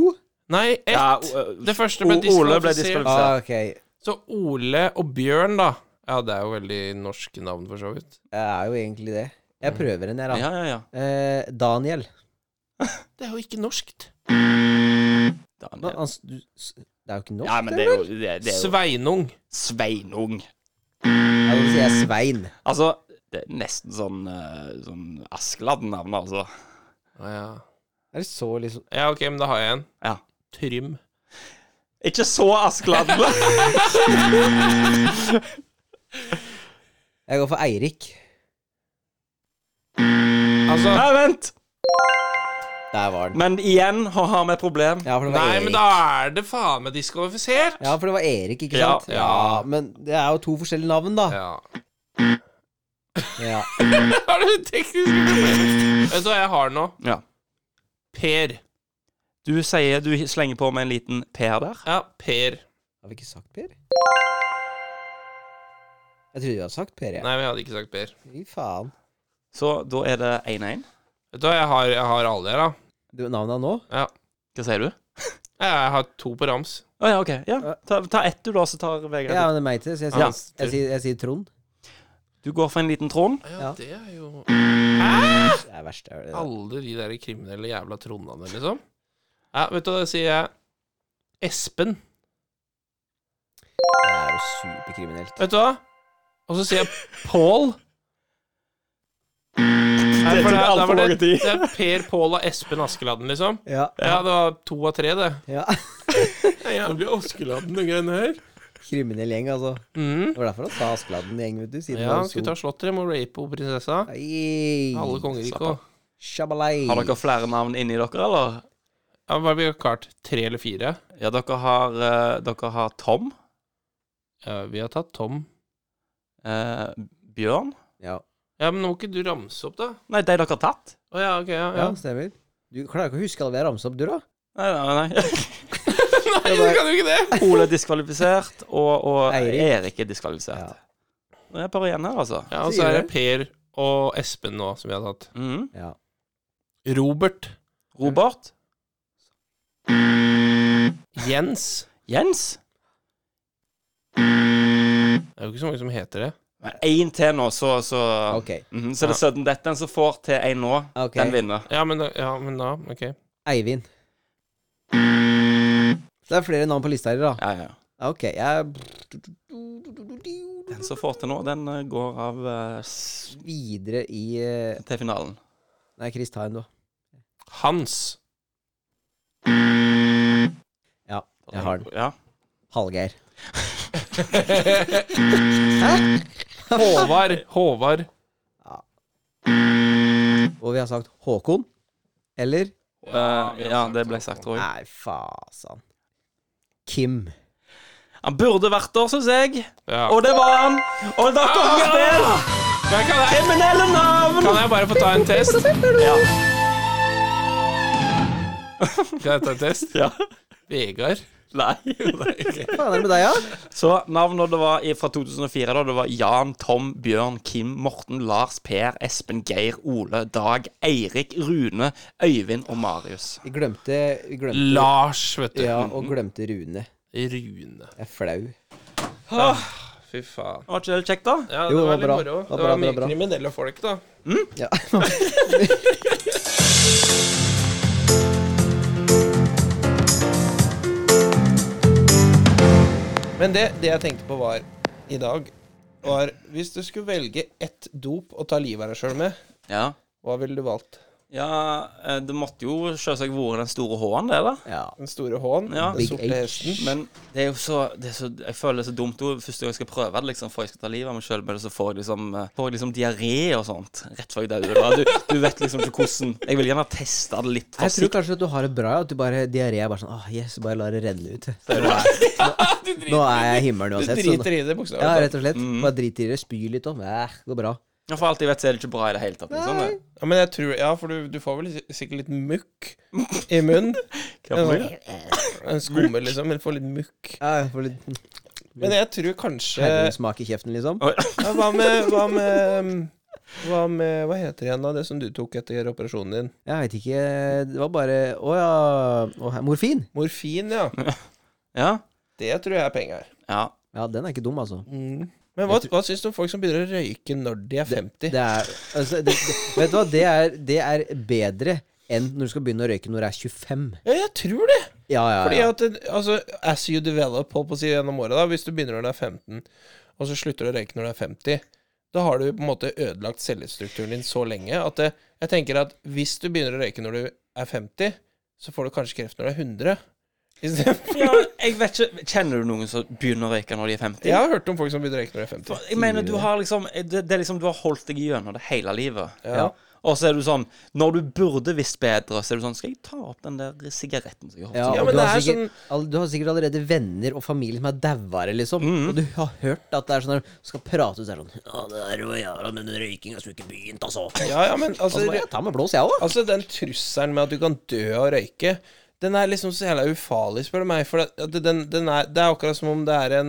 B: Nei, ett.
A: Ja, o-
B: det første ble
A: O- Ole ble
B: diskvalifisert.
A: diskvalifisert.
C: Ah, ok.
B: Så Ole og Bjørn, da. Ja, det er jo veldig norske navn, for så vidt.
C: Jeg er jo egentlig det. Jeg prøver en, jeg, da.
A: Ja, ja, ja.
C: Eh, Daniel.
B: Det er jo ikke norskt.
C: Hva,
A: Daniel.
C: han, s- du, s- det er jo ikke norsk,
A: Ja, men det er jo, det, det er jo
B: Sveinung.
A: Sveinung.
C: Ja, da sier jeg Svein.
A: Altså, det er nesten sånn, eh, sånn Askeladden-navn, altså.
B: Å, ja.
C: Er det så liksom
B: ja, ok, men da har jeg en.
A: Ja.
B: Trym.
A: Ikke så Askeladden.
C: Jeg går for Eirik.
B: Altså
A: Nei, vent!
C: Der var den.
A: Men igjen har har vi et problem.
C: Ja, for det var
B: Nei,
C: Erik.
B: men da er det faen meg diskvalifisert.
C: Ja, for det var Erik, ikke
A: Ja,
C: sant?
B: ja.
C: Men det er jo to forskjellige navn, da.
B: Ja.
C: Ja.
B: Har du tekniske problemer? Vet du hva jeg har nå?
A: Ja.
B: Per.
A: Du sier du slenger på med en liten Per der.
B: Ja, Per.
C: Har vi ikke sagt Per? Jeg trodde vi hadde sagt Per, jeg.
B: Nei, men jeg hadde ikke sagt Per.
C: Fy faen.
A: Så da er det 1-1.
B: Vet du hva, jeg har, jeg har alle her, da.
C: Du, navnet nå?
A: Hva sier du?
B: Ja, Jeg har to på rams.
A: Å ja, OK. Ja. Ta, ta ett, du, da, så tar Vegard
C: Ja, men det er meg til, så jeg sier,
B: Ja.
C: jeg sier, jeg sier Trond.
A: Du går for en liten Trond.
C: Ja.
B: det er jo
C: Det er verst. Det er det.
B: Alle de der kriminelle jævla trondene, liksom. Ja, vet du hva, da sier jeg Espen.
C: Det er jo superkriminelt.
B: Vet du hva? Og så sier jeg Pål. Nei,
A: Det
B: for
A: tok
B: da- da
A: alt for
B: var
A: lang
B: det,
A: tid.
B: det er Per, Pål og Espen Askeladden, liksom.
C: Ja.
B: Ja, det var to av tre, det.
C: ja.
B: Jævlig Askeladden, den greien her.
C: Kriminell gjeng, altså.
B: Mm.
C: Det var derfor han sa Askeladden-gjeng, vet du. Siden
B: Ja, han skulle ta slottet. Må rape henne, prinsessa. Halve
C: Alle
B: kongeriket
A: Slapp av.
B: og
C: Shabalai.
A: Har dere flere navn inni dere, eller?
B: ja, Hva har vi klart? Tre eller fire?
A: Ja, dere har, eh, dere har Tom.
B: Ja, vi har tatt Tom.
A: eh, Bjørn.
C: Ja.
B: Ja, men nå må ikke du ramse opp, da.
A: Nei, de dere har tatt.
B: Å ja, ok, ja. ja.
C: ja, stemmer. Du klarer ikke å huske alle vi har ramset opp, du, da?
A: Nei, nei, nei.
B: Nei, du kan jo ikke det!
A: Ole er diskvalifisert, og, og
C: Eirik.
A: Erik. er diskvalifisert.
C: Ja.
A: Det er et par igjen her, altså.
B: Ja, og så er det Per og Espen nå, som vi har tatt.
A: Mhm.
C: Ja.
B: Robert.
A: Robert.
B: Jens.
A: Jens.
B: Det er jo ikke så mange som heter det.
A: Men Én til nå, så, så
C: Ok.
A: Mhm, Så er det sudden death. Den som får til én nå,
C: Ok.
A: den vinner.
B: Ja, men da, ja, men da ok.
C: Eivind. Det er flere navn på lista her, da.
A: Ja, ja.
C: Ok, jeg
A: Den som får til nå, den eh, går av eh, s-
C: Videre i eh,
A: til finalen.
C: Nei, Chris, ta en, du.
B: Hans.
C: Ja, jeg har den.
A: Ja.
C: Hallgeir.
B: Håvard. Håvard.
C: Og vi har sagt Håkon. Eller?
A: Eh, ja, det ble sagt, tror jeg.
C: Nei, fasan. Kim.
A: Han burde vært der, syns jeg.
B: Ja.
A: Og det var han. Og da
C: Ah!
A: kom vi til
B: Men kan, jeg,
A: kriminelle navn.
B: kan jeg bare få ta en test?
A: Ja.
B: Kan jeg ta en test?
A: ja.
B: Vegard.
A: Nei.
C: Hva faen er det med deg, da?
A: Så navnene det var i- fra 2004, da det var Jan, Tom, Bjørn, Kim, Morten, Lars, Per, Espen, Geir, Ole, Dag, Eirik, Rune, Øyvind og Marius.
C: Vi glemte, vi glemte
B: Lars, vet du.
C: Ja, og glemte Rune.
B: Rune.
C: Jeg er flau.
B: Fy faen.
A: Var ikke det litt kjekt, da?
B: Ja, det
C: Jo,
B: var
C: det var
B: litt
C: bra.
B: moro.
C: Det var
B: Det
C: bra,
B: var Mm?
C: det
B: mye
C: var bra.
B: kriminelle folk, da.
C: Ja.
B: Men det, det jeg tenkte på var i dag, var hvis du skulle velge ett dop å ta livet av deg sjøl med,
A: Ja.
B: hva ville du valgt?
A: Ja, eh, det måtte jo selvsagt vært den store H-en, det, da.
C: ja.
B: Den store H-en?
A: Ja.
B: Den
C: Big
B: sorte
C: H.
B: hesten?
A: Men det er jo så, det er så Jeg føler det er så dumt jo, første gang jeg skal prøve det, liksom, før jeg skal ta livet av meg sjøl, så får jeg liksom eh, Får jeg liksom diaré og sånt rett før jeg dør. da. Du, du vet liksom ikke hvordan Jeg vil gjerne teste det litt.
C: Jeg tror kanskje at du har det bra, at du bare diaré er bare sånn Åh, yes, bare la det renne ut. Nå er jeg i
B: Du
C: himmelen uansett. så nå-
B: driter i det, Mhm.
C: Ja,
B: bokstavelig talt.
C: rett og slett. Bare drit i det, spy litt om. Eh, går bra.
A: Ja, For alt jeg vet, så er det ikke bra i det hele tatt. Liksom. det.
B: Ja, men jeg tror Ja, for du, du får vel si- sikkert litt mukk i munnen.
A: Hva for noe?
B: En skummel, liksom. Men får litt mukk.
C: Ja, jeg får litt
B: Men jeg tror kanskje
C: herrelig smak i kjeften, liksom.
A: Oi.
B: ja, Hva med, hva med um, Hva, med, hva heter det igjen da, det som du tok etter operasjonen din?
C: Jeg veit ikke Det var bare Å ja. Å, her- morfin.
B: Morfin, ja.
A: Ja.
B: Det tror jeg er penger.
A: ja.
C: Ja, den er ikke dum, altså.
B: Mm. Men hva, hva syns du om folk som begynner å røyke når de er 50?
C: Det er, altså, det, det, vet du hva, det er, det er bedre enn når du skal begynne å røyke når du er 25.
B: Ja, jeg tror det!
C: Ja, ja,
B: Fordi
C: ja.
B: at det, altså, as you develop, holdt på å si gjennom året, da, hvis du begynner når du er 15, og så slutter du å røyke når du er 50, da har du på en måte ødelagt cellestrukturen din så lenge at det, jeg tenker at hvis du begynner å røyke når du er 50, så får du kanskje kreft når du er 100. I stedet for-
A: ja jeg vet ikke, Kjenner du noen som begynner å røyke når de er 50?
B: Jeg har hørt om folk som begynner å røyke når de er 50.
A: Jeg mener, du har liksom det, det er liksom, Du har holdt deg gjennom det hele livet.
B: Ja.
A: Og så er du sånn Når du burde visst bedre, så er du sånn Skal jeg ta opp den der sigaretten som jeg har?
C: Ja,
B: Ja,
C: og
B: men
C: du,
B: det
C: har
B: er sånn-
C: sikkert, all, du har sikkert allerede venner og familie som er dauere, liksom.
B: Mhm.
C: Og du har hørt at det er sånn der, skal prate ut så er det sånn Ja, det er jo jævla den røykinga som ikke begynt, altså.
B: Ja, ja, men
C: Og så
B: altså,
C: bare, jeg tar meg blås, jeg òg.
B: altså den trusselen med at du kan dø av å røyke, den er liksom så jævla ufarlig, spør du meg. For det, at den, den er, det er akkurat som om det er en,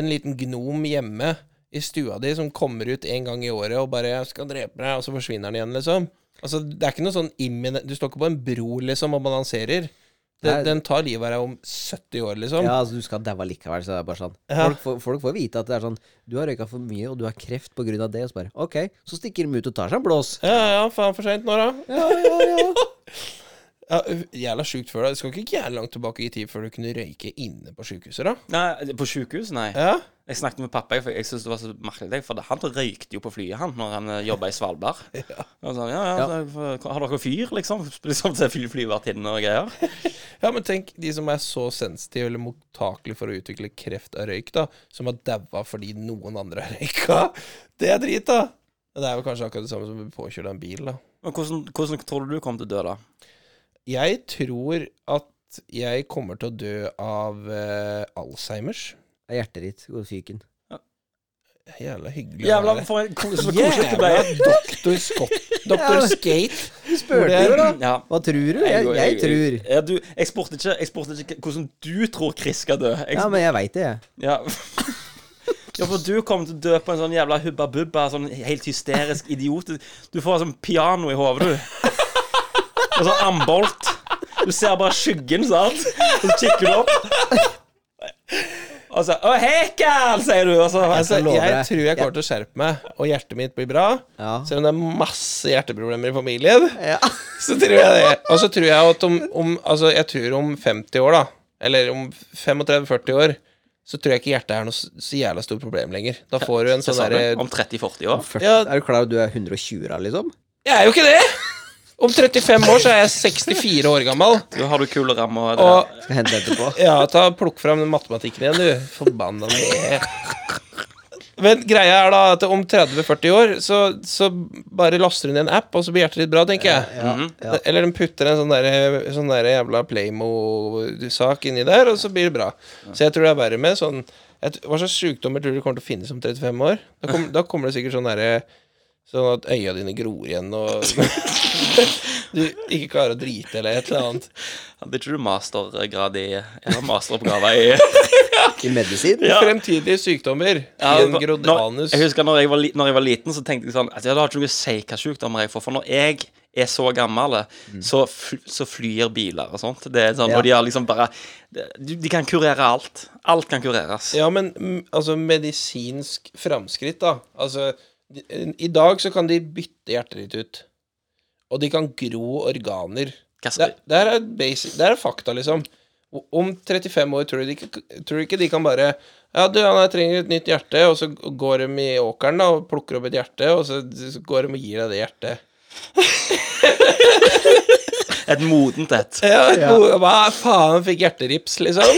B: en liten gnom hjemme i stua di som kommer ut en gang i året og bare 'Jeg skal drepe deg', og så forsvinner den igjen, liksom. Altså, det er ikke noe sånn imminent Du står ikke på en bro, liksom, og balanserer. Den,
C: Nei.
B: den tar livet av deg om 70 år, liksom.
C: Ja, altså, du skal daue likevel, så det er bare sånn.
B: Ja.
C: Folk, får- folk får vite at det er sånn Du har røyka for mye, og du har kreft på grunn av det, og så bare OK, så stikker de ut og tar seg en blås.
B: Ja, ja, ja, faen for seint nå, da.
C: Ja, ja, ja.
B: Ja, øh, jævla sjukt før da. Det skal ikke jævla langt tilbake i tid før du kunne røyke inne på sykehuset, da.
A: Nei, på sjukehus? Nei.
B: Ja,
A: Jeg snakket med pappa, for jeg syntes det var så merkelig. jeg, For han røykte jo på flyet, han, når han jobba i Svalbard. Og sånn, ja, ja, så, Har dere fyr, liksom? liksom til fly, flyvertinne og greier.
B: ja men tenk de som er så sensitive eller mottakelige for å utvikle kreft av røyk, da. Som har daua fordi noen andre har røyka. Det er drit, da. Det er vel kanskje akkurat det samme som å bli påkjørt av en bil, da.
A: Men hvordan, hvordan tror du du kommer til å dø, da?
B: Jeg tror at jeg kommer til å dø av eh, Alzheimers.
C: Det er Hjertet ditt og fyken.
B: Jævla hyggelig. å
A: Jævla
B: være.
A: for en kos- så koselig det ble.
B: Jævla Dr. Scott. Dr. Skate.
C: Du spurte jo, da.
A: Ja.
C: Hva tror du? Jeg, jeg tror
A: Ja, du, jeg spurte ikke, jeg spurte ikke hvordan du tror Chris skal dø. Jeg,
C: Ja, men jeg veit det, jeg.
A: ja. ja, for du kommer til å dø på en sånn jævla hubba bubba, sånn helt hysterisk idiot. Du får sånn piano i hodet, du. Og sånn ambolt. Du ser bare skyggen, sant? Og så kikker du opp. Og så Å, hekkal, sier du. Og så
B: Altså,
C: Jeg lover
B: jeg
C: deg.
B: tror jeg kommer til å skjerpe meg, og hjertet mitt blir bra.
C: Ja.
B: Selv om det er masse hjerteproblemer i familien,
C: Ja.
B: så tror jeg det. Og så tror jeg at om, om Altså, jeg tror om 50 år, da, eller om 35-40 år, så tror jeg ikke hjertet er noe så så jævla stort problem lenger. Da får du en sånn
A: Sa du,
B: derre
A: Om 30-40 år?
B: Ja,
C: Er du klar over at du er 120-a, liksom?
B: jeg er jo ikke det! Om 35 år så er jeg 64 år gammel.
A: Da har du kule rammer.
B: Og
C: Skal hente etterpå.
B: Ja, ta plukk fram den matematikken igjen, du. Forbanna ned. Men greia er da at om 30-40 år så, så bare laster hun ned en app, og så blir hjertet ditt bra, tenker jeg.
C: Ja, ja.
B: Eller den putter en sånn der, sånn der jævla Playmo-sak inni der, og så blir det bra. Så jeg tror det er verre med sånn jeg, t- Hva slags sykdommer tror du kommer til å finnes om 35 år? Da, kom, da kommer det sikkert sånn derre Sånn at øya dine gror igjen, og du ikke klarer å drite eller et eller annet.
A: Hadde ikke du mastergrad i Eller masteroppgave i
C: I medisin?
A: Ja.
B: Fremtidige sykdommer.
A: Ja,
B: Ian
A: for-
B: Grodalus.
A: Når, jeg husker når jeg, var, li- når jeg var liten, så tenkte jeg sånn altså, Det har ikke noe å si hva sykdommer jeg får. For når jeg er så gammel, eh,
B: Mm.
A: så, fl så flyr biler og sånt. Det er sånn,
C: Ja.
A: Og de har liksom bare de, de kan kurere alt. Alt kan kureres.
B: Ja, men mm, altså medisinsk framskritt, da. Altså de- I dag så kan de bytte hjertet ditt ut. Og de kan gro organer.
A: Hva
B: Det,
A: skal-
B: det her er basic Det her er fakta, liksom. O- Om 35 år tror du de ikke, tror du ikke de kan bare Ja, du, han her trenger et nytt hjerte, og så går de i åkeren da og plukker opp et hjerte, og så så går de og gir deg det hjertet.
A: Et modent et.
B: Ja, Hva faen? Fikk hjerterips, liksom?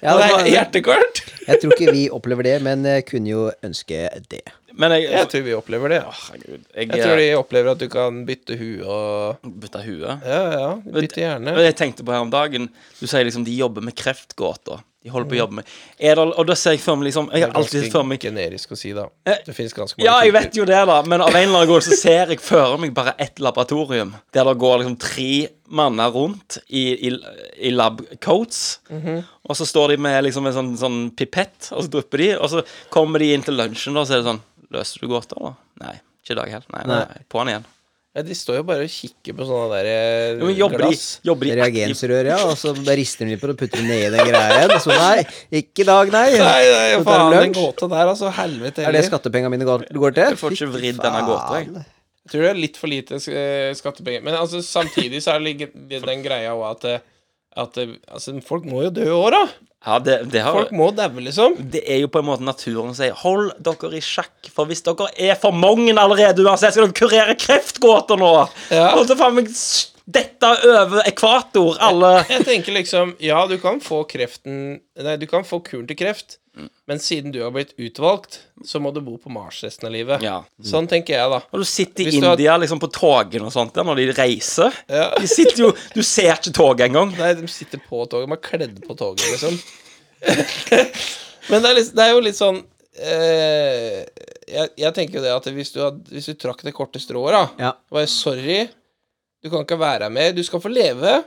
C: Ja, det var-
B: Nei, hjertekort?
C: jeg tror ikke vi opplever det, men eh, kunne jo ønske det.
A: Men jeg,
B: Jeg tror vi opplever det. ja.
A: Herregud.
B: Jeg tror de opplever at du kan bytte hue og
A: bytta hue.
B: Ja, ja. Bytte
A: Og
B: hjerne.
A: jeg tenkte på her om dagen Du sier liksom de jobber med kreftgåter. De holder
B: Mm.
A: på å jobbe med er det, Og da ser jeg for meg liksom Jeg har alltid sett for meg
B: generisk å si, da.
A: Eh,
B: Det fins ganske mange
A: Ja, jeg
B: typer.
A: vet jo det, da, men av en eller annen grunn så ser jeg for meg bare ett laboratorium. Der det går liksom tre manner rundt i, i, i labcoats.
B: Mhm.
A: Og så står de med liksom en sånn, sånn pipett, og så drypper de. Og så kommer de inn til lunsjen, da, og så er det sånn Løser du gåter, da? Nei. Ikke i dag heller. Nei, nei.
C: Nei.
A: nei. På'n igjen.
B: Ja, de står jo bare og kikker på sånne der
A: Jo, men jobber de,
B: glass.
A: jobber de aktivt?
C: Reagensrør, ja. Og så bare rister de litt på det og putter de ned i den greia igjen. Så nei, ikke i dag, nei.
B: Nei, nei,
C: Dette er
B: faen, den
C: lunsj.
B: gåta der, altså. Helvete
C: Er det
B: heller.
C: skattepengene mine går, går til?
A: Jeg får ikke
C: Fy
A: vridd denne gåta, jeg.
C: faen.
B: Jeg tror det er litt for lite eh, skattepenger. Men altså, samtidig så er det ligge- den greia òg at, eh, at eh, altså, folk må jo dø i år, da.
A: Ja, det, det, har,
B: Folk må daue, liksom.
A: det er jo på en måte naturen som sier 'hold dere i sjakk', for hvis dere er for mange allerede uansett, skal dere kurere kreftgåter nå!
B: Ja.
A: Og så faen meg s- dette over ekvator, alle
B: Jeg tenker liksom Ja, du kan få kreften Nei, du kan få kuren til kreft,
A: Mm.
B: men siden du har blitt utvalgt, så må du bo på Mars resten av livet.
A: Ja.
B: Sånn tenker jeg, da.
A: Og du sitter i
B: Hvis du hadde-
A: India liksom på togene og sånt der, når de reiser.
B: Ja.
A: De sitter jo Du ser ikke toget engang.
B: Nei, de sitter på toget. De har kledd på toget, liksom. Men det er, litt, det er jo litt sånn eh, jeg, jeg tenker jo det at hvis du, had, hvis du trakk det korte strået, da
C: Ja.
B: Bare sorry, du kan ikke være her mer. Du skal få leve,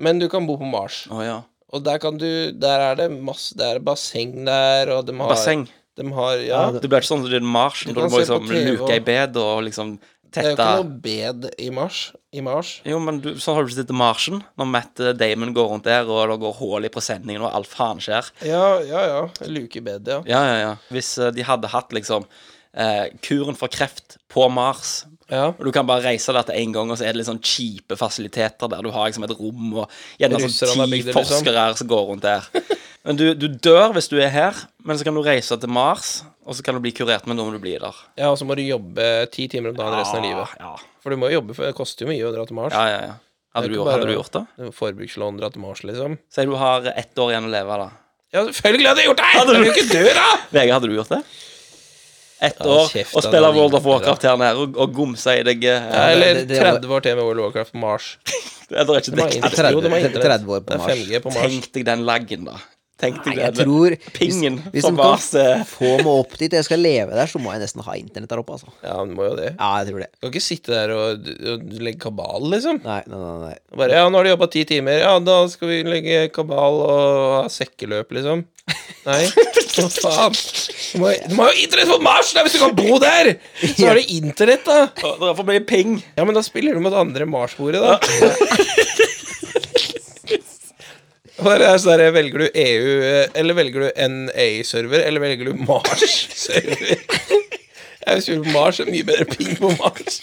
B: men du kan bo på Mars.
A: Å ja.
B: Og der kan du Der er det masse Det er basseng der, og de har
A: Basseng.
B: De har Ja.
C: Ja,
A: Det blir ikke sånn som det er en marsj,
B: Du
A: da
B: kan
A: du må
B: se på
A: liksom
B: TV
A: luke i
B: og-
A: bed og liksom
B: Det er jo
A: tette
B: ikke noe bed i Mars. I Mars.
A: Jo, men du, sånn har du sett i Marsjen, når Matt eh, Damon går rundt der, og det går hull i presenningen, og alt faen skjer.
B: Ja, ja, ja. Luke i bed, ja.
A: Ja, ja, ja. Hvis eh, de hadde hatt liksom eh, kuren for kreft på Mars
B: ja.
A: og Du kan bare reise der til én gang, og så er det litt sånn kjipe fasiliteter der. Du har liksom et rom og gjerne
B: Russerne
A: sånn
B: har
A: ti
B: bygd det, liksom.
A: forskere her som går rundt der. Men du, du dør hvis du er her, men så kan du reise til Mars, og så kan du bli kurert, men da må du bli der.
B: Ja, og så må du jobbe ti timer om dagen resten av livet.
A: Ja,
B: For du må jo jobbe, for det koster jo mye å dra til Mars.
A: ja, ja. ja.
B: Det er
A: Hadde, du,
B: ikke
A: gjort- hadde
B: bare-
A: du gjort det?
B: Det er jo Forbrukslån, dra til Mars, liksom.
A: Si du har ett år igjen å leve, da.
B: Ja, selvfølgelig hadde jeg gjort det!
A: Hadde
B: Jeg
A: du-
B: vil ikke dø, da!
A: VG, hadde du gjort det? Ett
B: Ja,
A: år
B: kjeft,
A: og
B: da,
A: spille
B: da
A: World
B: ligger
A: of
B: det
A: Warcraft her nede og, og gomse i deg eh,
B: Ja,
C: det-
B: Eller
C: det- det-
B: 30 år til med World of Warcraft på Mars.
A: Eller ikke
B: Det var
A: dekket.
B: internett.
C: tredve-
B: Jo, det var internett.
C: 30 år på
B: Det er
C: Mars.
B: 5G på Mars.
A: Tenk deg den laggen, da. Tenk deg
C: Nei, jeg
A: den
C: tror hvis-
A: pingen
C: hvis
A: fra
C: de kan
A: Mars. eh,
C: Få meg opp dit, jeg skal leve der, så må jeg nesten ha internett der oppe, altså.
B: Ja, men du må jo det.
C: Ja, jeg tror det.
B: Du kan ikke sitte der og, og legge kabal, liksom.
C: Nei, nei, nei. nei.
B: Bare, ja, nå har de jobba ti timer. Ja, da skal vi legge kabal og ha sekkeløp, liksom. Nei, hva faen? Du må, du må jo ha internett på Mars! Da, hvis du kan bo der! Så har du internett, da.
A: Å, Det er for mye ping.
B: Ja, men da spiller du mot andre Mars-bordet, da. Bare er sånn der, Velger du EU, eh, eller velger du NA-server, eller velger du Mars-server? Jeg vil spille på Mars, det er mye bedre ping på Mars.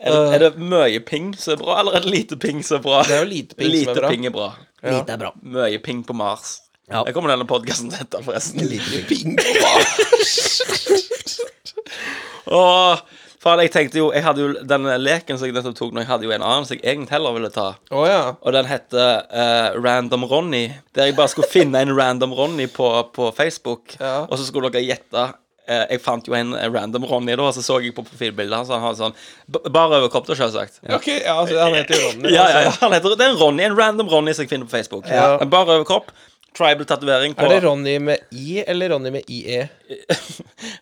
A: Er, det- er det mye ping som er bra, eller er det lite ping som er bra?
B: Eh. Det er jo lite ping som
A: Lite
B: er bra.
A: ping er bra.
B: Ja.
C: Lite er bra.
A: Mye ping på Mars.
C: Ja.
A: Jeg kommer denne podkasten til dette, forresten.
B: Lite ping på Mars.
A: Åh, faen, jeg tenkte jo Jeg hadde jo den leken som jeg nettopp tok nå, jeg hadde jo en annen som jeg egentlig heller ville ta.
B: Å ja.
A: Og den heter eh, Random Ronny. Der jeg bare skulle finne en Random Ronny på, på Facebook.
B: Ja.
A: Og så skulle dere gjette. Eh, jeg fant jo en Random Ronny, da, og så så jeg på profilbildet hans. Han har sånn b- bare overkropp, da, selvsagt.
B: Ok, ja, altså, han heter jo Ronny.
A: Ja, ja,
B: altså.
A: ja. Han heter, det er en Ronny, en random Ronny som jeg finner på Facebook.
B: Ja.
A: En Bare overkropp. Tribal-tatovering på
B: Er det Ronny med I E? eller Ronny med IE?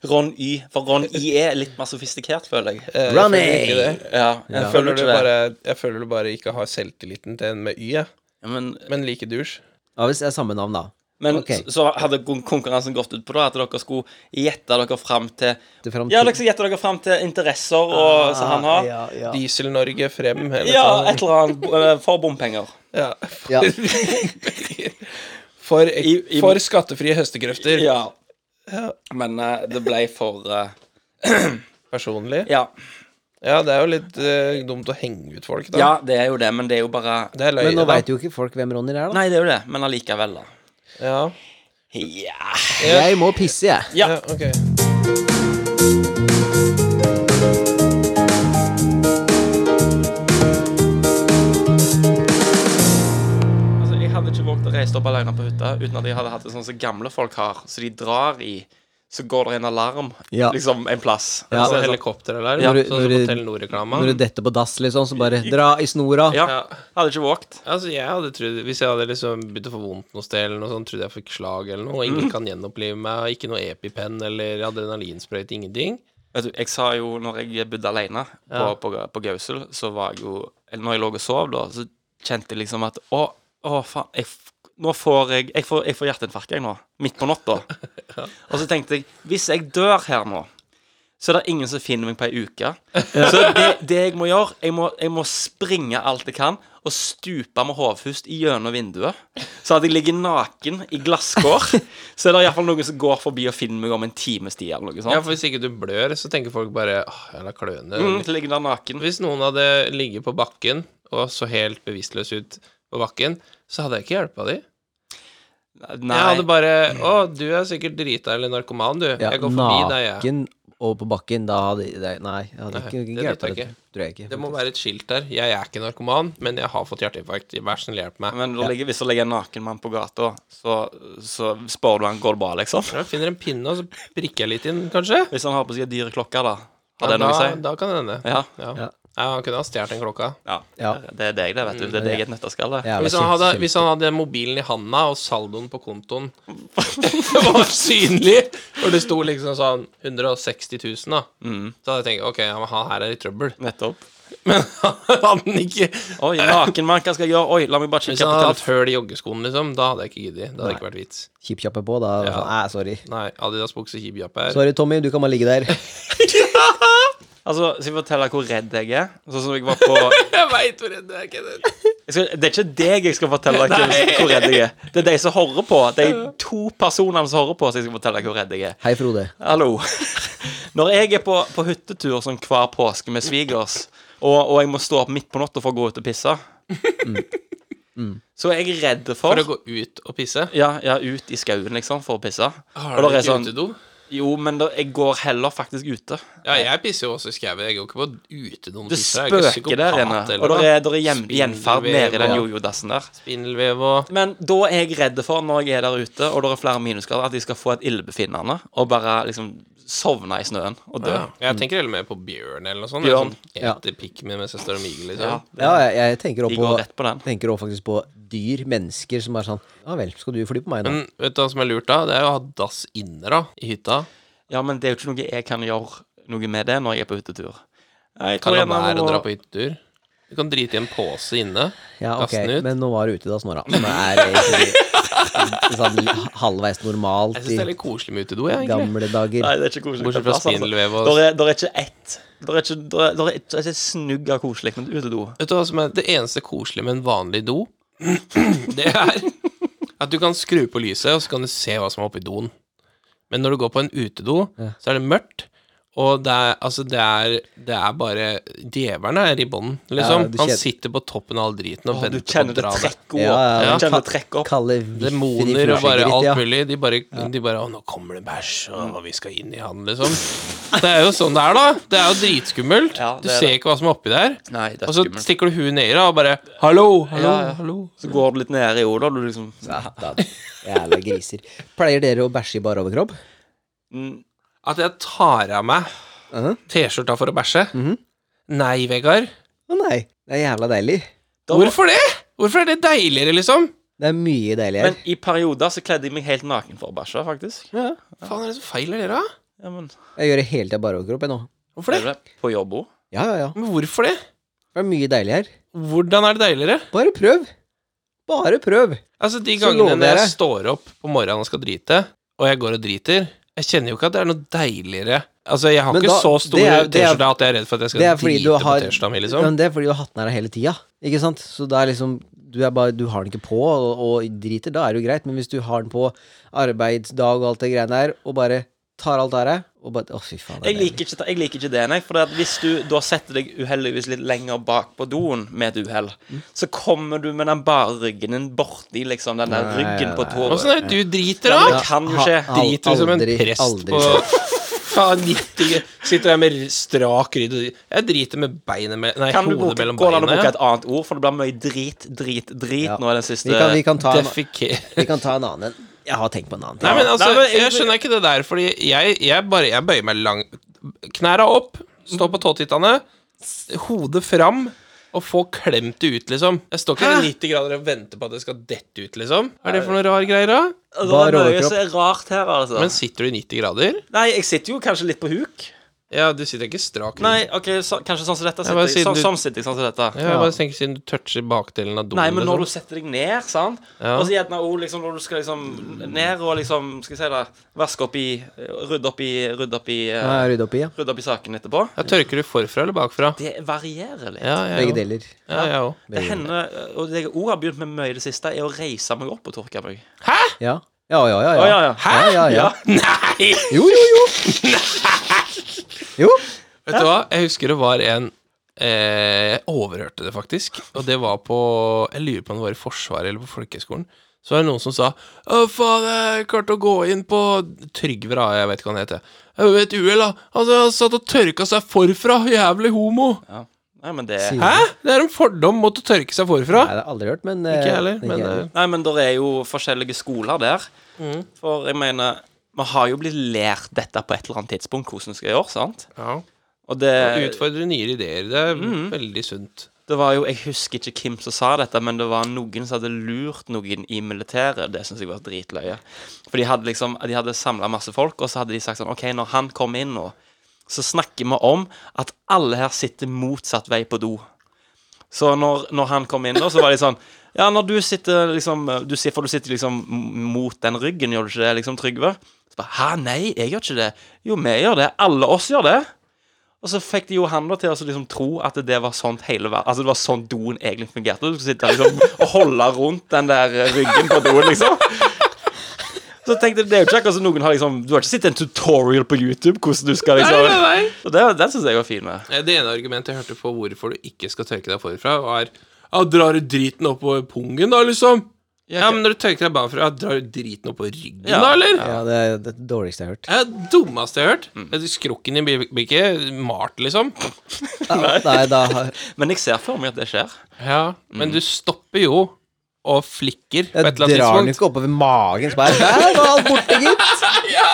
A: Ron Y. For Ron Y er litt mer sofistikert, føler jeg.
B: Eh, jeg
C: Ronny!
B: føler ikke det.
A: Ja, jeg
B: Jeg
A: føler
B: føler, du
A: ikke det.
B: bare, jeg føler du bare ikke har selvtilliten til en med Y, jeg.
A: Ja, Men,
B: men like dusj.
C: Ja, hvis det er samme navn, da.
A: men
C: Ok.
A: så så hadde kon- konkurransen gått ut på da, at dere skulle gjette dere fram til
C: Til fremtiden.
A: Ja, dere skulle gjette dere fram til interesser og, som han har.
C: Ah, Ja, ja.
B: Diesel-Norge frem. Eller
A: Ja,
B: sånn.
A: et eller annet bo- eh, for bompenger.
B: ja.
C: Ja.
B: For,
A: I- i-
B: for skattefrie høstekrefter.
A: Ja. Men eh, det ble for eh,
B: Personlig.
A: ja.
B: Ja, det er jo litt eh, dumt å henge ut folk, da.
A: ja, det er jo det, men det er jo bare
B: Det er løye,
C: Men nå
B: da.
C: veit jo ikke folk hvem Ronny er, da.
A: Nei, det er jo det, men allikevel, da.
B: Ja.
A: Ja.
C: Jeg må pisse, jeg.
A: Ja.
B: ja, ok.
A: Altså, jeg hadde ikke våget å reise opp alene på hytta uten at jeg hadde hatt det sånn som gamle folk har, så de drar i. Så går det en alarm,
C: Ja.
A: liksom, en plass.
B: Altså,
A: Så
C: Ja.
A: er det sånn-
B: helikopteralarm,
C: Ja.
B: sånn som
C: Når du-
B: på Telenor-reklama.
C: Når du detter på dass, liksom, så bare dra i snora.
A: ja.
B: Ja.
A: Hadde ikke våget.
B: Altså, jeg hadde trodd Hvis jeg hadde liksom begynt å få vondt noe sted, eller noe sånt, trodde jeg fikk slag eller noe, og ingen kan gjenopplive meg, ikke noe EpiPen eller adrenalinsprøyte, ingenting.
A: Vet du, jeg sa jo når jeg bodde alene på,
B: Ja.
A: på, på Gausel, så var jeg jo eller Når jeg lå og sov, da, så kjente jeg liksom at Å, å faen jeg, f- nå får jeg, jeg, får, jeg får hjerteinfarkt jeg nå, midt på natta. Og så tenkte jeg, hvis jeg dør her nå, så er det ingen som finner meg på ei uke. Så det, det jeg må gjøre, jeg må, jeg må springe alt jeg kan, og stupe med hovfust gjennom vinduet. Så at jeg ligger naken i glasskår, så er det iallfall noen som går forbi og finner meg om en times tid eller noe
B: Ja,
A: sånt.
B: for hvis ikke du blør, så tenker folk bare åh, jævla kløende.
A: Mm, så ligger der naken.
B: Hvis noen hadde ligget på bakken og så helt bevisstløs ut på bakken, så hadde jeg ikke hjelpa de.
A: Nei.
B: Jeg hadde bare Å, du er sikkert drita eller narkoman, du.
C: Ja,
B: jeg går forbi deg, jeg.
C: naken og på bakken, da hadde det- Nei, jeg hadde
B: Nei,
C: ikke,
B: det
C: ikke
B: vet
C: hjulpet
B: jeg
C: det, Tror jeg ikke.
B: Det må være et skilt der. Jeg er ikke narkoman, men jeg har fått hjerteinfarkt. Vær snill, hjelp meg.
A: Men da ligger, hvis det ligger en naken mann på gata, så, så spør du han går det bra, liksom.
B: Jeg finner en pinne, og så prikker jeg litt inn, kanskje.
A: Hvis han har på seg dyre klokker, da.
B: Ja,
A: Har det noe å
B: da,
A: si?
B: da kan det hende.
A: Ja.
B: Ja.
C: Ja.
B: Ja, han kunne ha stjålet den klokka.
A: ja.
C: Ja.
A: Det er deg, det, vet du. Det er deg i et nøtteskalle.
C: Ja,
B: Hvis
C: det er
B: han, hadde,
C: kjempe-
B: hvis han hadde mobilen i handa og saldoen på kontoen Det var synlig! Og det sto liksom sånn 160 000, da.
A: Mm.
B: Så hadde jeg tenkt ok, ja, men han her er i trøbbel.
A: Nettopp.
B: Men hadde han ikke Hvis
A: Oi, nakenmann, hva skal jeg gjøre? Oi, la meg bare kikke
B: han
A: på
B: hadde hatt
A: telefonen.
B: høl i joggeskoen, liksom, da hadde jeg ikke giddet. Da hadde det ikke vært vits.
C: Kjippkjappe på, da.
B: Ja.
C: Nei, sorry.
B: Nei, Adidas bukse hibjapp her.
C: Sorry, Tommy, du kan bare ligge der.
A: Altså, Skal jeg fortelle deg hvor redd jeg er? Sånn som jeg var på jeg
B: Jeg veit hvor redd du er, Kenneth.
A: skal, Det er ikke deg jeg skal fortelle deg hvor- hvor redd jeg er. Det er de som hører på. De to personene som hører på, så jeg skal fortelle deg hvor redd jeg er.
C: Hei, Frode.
A: Hallo. Når jeg er på, på hyttetur sånn hver påske med svigers, og, og jeg må stå opp midt på natta for å gå ut og pisse, så er jeg redd for,
B: For å gå ut og pisse?
A: ja, ja, ut i skauen, liksom, for å pisse.
B: Har du
A: der er
B: ikke
A: sånn-
B: utedo?
A: Jo, men da, jeg går heller faktisk ute.
B: Ja, jeg pisser jo også i skauen. Jeg går ikke på utedoen.
A: Det spøker der inne. Og der er, der er gjen, gjenferd nede i den jojo-dassen der.
B: Spindelvev og
A: Men da er jeg redd for, når jeg er der ute, og det er flere minusgrader, at jeg skal få et illebefinnende og bare liksom sovne i snøen og dø.
B: ja. Jeg tenker heller mer på bjørn eller noe sånt.
A: Bjørn.
B: Jeg Sånn, eter pikken min mens jeg står og myger, liksom.
C: Ja, jeg, jeg tenker også
A: De går
C: på,
A: rett på den.
C: tenker også faktisk på dyr, mennesker, som er sånn Ja vel, skal du fly på meg, da?
B: Men vet du hva som er lurt, da? Det er jo å ha dass inne, da, i hytta.
A: Ja, men det er jo ikke noe jeg kan gjøre noe med det når jeg er på hyttetur. Jeg
B: Kan
A: tror
B: la
A: jeg
B: være
A: må-
B: å dra på hyttetur. Du kan drite i en pose inne.
C: Ja, ok,
B: Kasten ut.
C: men nå var du ute da, Snorra. Som er egentlig sånn halvveis normalt
B: Jeg syns det er
C: i
B: litt koselig med utedo, jeg, egentlig.
C: gamle dager.
A: Nei, det er ikke koselig.
B: Bortsett fra
A: plass, altså.
B: spindelvev og-
A: Der er, der er ikke ett Der er ikke, der er, der er ikke der er ikke et snugg av koselig med utedo.
B: Vet du hva som er det eneste koselige med en vanlig do? Det er at du kan skru på lyset, og så kan du se hva som er oppi doen. Men når du går på en utedo, så er det mørkt, og det er, altså det er, det er bare Djevelen er i bånn, liksom.
C: Ja, du
B: Han
C: kjenner-
B: sitter på toppen av all driten og
A: Å, Du
B: venter på
A: kjenner
B: å
A: det
B: dra det.
A: trekke opp.
C: Ja, ja,
A: Du kjenner
C: ka-
A: det trekke opp.
C: Kalle viffen i
B: Demoner og bare
C: fugleskjegget ditt,
B: alt
C: ja.
B: mulig. De bare, de bare 'Å, nå kommer det bæsj, og vi skal inn i han', liksom. Det er jo sånn det er, da. Det er jo dritskummelt.
A: Ja, det
B: du
A: er
B: ser
A: det.
B: ikke hva som er oppi der.
A: Nei, det er
B: Og så
A: skummelt.
B: stikker du huet ned i det og bare 'Hallo, hallo,
A: Ja, ja.
B: hallo'.
A: Så går du litt ned i hodet, og du liksom
C: Satan. Jævla griser. Pleier dere å bæsje i bar overkropp?
A: mm,
B: At jeg tar av meg
C: Mhm.
B: T-skjorta for å bæsje? Nei, Vegard.
C: Å nei, det er jævla deilig.
A: Da-
B: Hvorfor det? Hvorfor er det deiligere, liksom?
C: Det er mye deiligere.
A: Men i perioder så kledde jeg meg helt naken for å bæsje, faktisk.
C: Ja.
B: Faen, er det så feil av dere, da?
A: Ja, men
C: Jeg gjør det hele tida bare overkropp, jeg nå.
B: Hvorfor
A: er
B: det?
A: det på jobb òg?
C: Ja, ja, ja.
B: Men hvorfor det?
C: Det er mye deilig her.
B: Hvordan er det deiligere?
C: Bare prøv. Bare prøv.
B: Altså, de
C: Så lover
B: gangene når jeg
C: dere.
B: står opp på morgenen og skal drite, og jeg går og driter Jeg kjenner jo ikke at det er noe deiligere Altså, jeg har
C: Men
B: ikke
C: da-
B: så stor
C: det er- det er-
B: T-skjorte at jeg er redd for at jeg skal
C: Det er fordi du
B: drite
C: har
B: på T-skjorta mi, liksom.
C: Men det er fordi du har hatt den her hele tida, ikke sant? Så det er liksom du, er bare, du har den ikke på og, og driter, da er det jo greit, men hvis du har den på arbeidsdag og alt det greiene der, og bare tar alt av deg, og bare Å, fy faen. det er
A: Jeg liker ikke, jeg liker ikke det, nei. For at hvis du da setter deg uheldigvis litt lenger bak på doen med et uhell, så kommer du med den bare ryggen din borti liksom den der
C: Nei,
A: ryggen
C: nei,
A: på
C: nei.
A: tå.
B: Åssen er det du driter,
A: Ja,
B: da?
A: men det kan jo
C: Ha-
A: skje.
C: ha-
B: driter du som en
C: aldri-
B: prest
C: aldri
B: på faen 90 Sitter der med strak ryd og Jeg driter med beinet me Nei,
A: Kan du
B: hodet
A: bruke,
B: mellom
A: går det an å bruke
B: beina.
A: et annet ord? For det blir mye drit, drit, drit
C: Ja.
A: nå i den siste
C: Vi kan, vi, kan ta en,
B: Defeker.
C: vi kan ta en annen en. Jeg har tenkt på en annen.
B: Nei, men altså,
A: Nei, men jeg-
B: jeg skjønner ikke det der, fordi jeg, jeg bare Jeg bøyer meg lang Knæra opp, stå på tåtittene, hodet fram. Og få klemt det ut, liksom. Jeg står ikke
A: Hæ?
B: 90 grader og venter på at det skal dette ut, liksom. Er det for noe rar greier, da?
A: Det er
C: Bar
A: mye
C: overkropp.
A: som er rart her, altså.
B: Men sitter du i 90 grader?
A: Nei, jeg sitter jo kanskje litt på huk.
B: Ja, du sitter ikke strak.
A: Nei, OK, så, kanskje sånn som
B: Mm.
A: dette
B: Ja, bare
A: sitter jeg.
B: siden
A: Sånn,
B: du-
A: sånn sitter jeg, sånn som dette.
B: Ja, jeg bare tenker siden du toucher bakdelen av doen.
A: Nei, men når
B: liksom.
A: du setter deg ned, sant
B: Ja.
A: Og så gjerne også liksom, når du skal liksom ned og liksom Skal jeg si det Vaske opp i Rydde opp i Rydde opp i, eh,
C: Ja, rydde opp i, ja.
A: rydde opp i saken etterpå.
B: ja, Tørker du forfra eller bakfra?
A: Det varierer litt.
B: Ja, jeg òg.
C: Begge deler.
B: Ja, jeg òg.
A: Det hender, og det jeg òg har begynt med mye i det siste, er å reise meg opp og tørke meg.
C: Ja. Ja, ja, ja.
A: Å, ja, ja.
C: Hæ? Ja, ja, Ah, ja.
A: Ja.
C: Jo, jo, jo. Jo.
B: Vet du hva? Jeg husker det var en eh, Jeg overhørte det faktisk. Og det var på Jeg lurer på om det var i Forsvaret eller på folkehøgskolen. Så var det noen som sa Å, faen, jeg klarte å gå inn på Trygve, da. Jeg vet ikke hva han heter. Jeg vet uhell, da. Altså, han satt og tørka seg forfra. Jævlig homo.
A: Ja. Nei, men det
C: Sier-
B: Hæ? Det er en fordom mot å tørke seg forfra.
C: Nei, det har jeg aldri hørt, men eh,
B: Ikke jeg heller, men
C: jeg
B: eh,
A: Nei, men det er jo forskjellige skoler der. For jeg mener Vi har jo blitt lært dette på et eller annet tidspunkt, hvordan vi skal gjøre, sant?
B: ja.
A: Og det,
B: Utfordre eh, nye ideer. Det er veldig sunt.
A: det var jo Jeg husker ikke hvem som sa dette, men det var noen som hadde lurt noen i militæret. Det syns jeg var dritløye. For de hadde liksom De hadde samla masse folk, og så hadde de sagt sånn OK, når han kommer inn nå, så snakker vi om at alle her sitter motsatt vei på do. Så når, når han kom inn, da, så var de sånn Ja, når du sitter liksom du, sier- For du sitter liksom m- mot den ryggen, gjør du ikke det, liksom, Trygve? Så bare Hæ, nei, jeg gjør ikke det. Jo, vi gjør det. Alle oss gjør det. Og så fikk de jo han da til å så liksom tro at det var sånn hele verden Altså det var sånn doen egentlig fungerte. Du skulle sitte liksom og holde rundt den der eh, ryggen på doen, liksom. Så tenkte jeg, det er jo ikke akkurat som noen har liksom Du har ikke sett en tutorial på YouTube hvordan du skal liksom
B: Nei, nei, nei.
A: Og det, den syns jeg var fin. med
B: Eh, Det ene argumentet jeg hørte for hvorfor du ikke skal tørke deg forfra, var ja, drar du driten oppover pungen, da, liksom? Ja, men når du tørker deg bakfra, ja, drar du driten oppover ryggen,
A: Ja.
B: da, eller?
C: Ja, det er det dårligste jeg har hørt.
B: Det er det dummeste jeg har hørt. Mm. Skrukken i bi- blir ikke malt, liksom.
C: Nei, da har
A: Men jeg ser for meg at det skjer.
B: Ja, men du stopper jo og flikker på
C: Jeg
B: et eller annet
C: drar den
B: tidspunkt.
C: ikke oppover magen. Så bare Der var alt borte, gitt. Ja,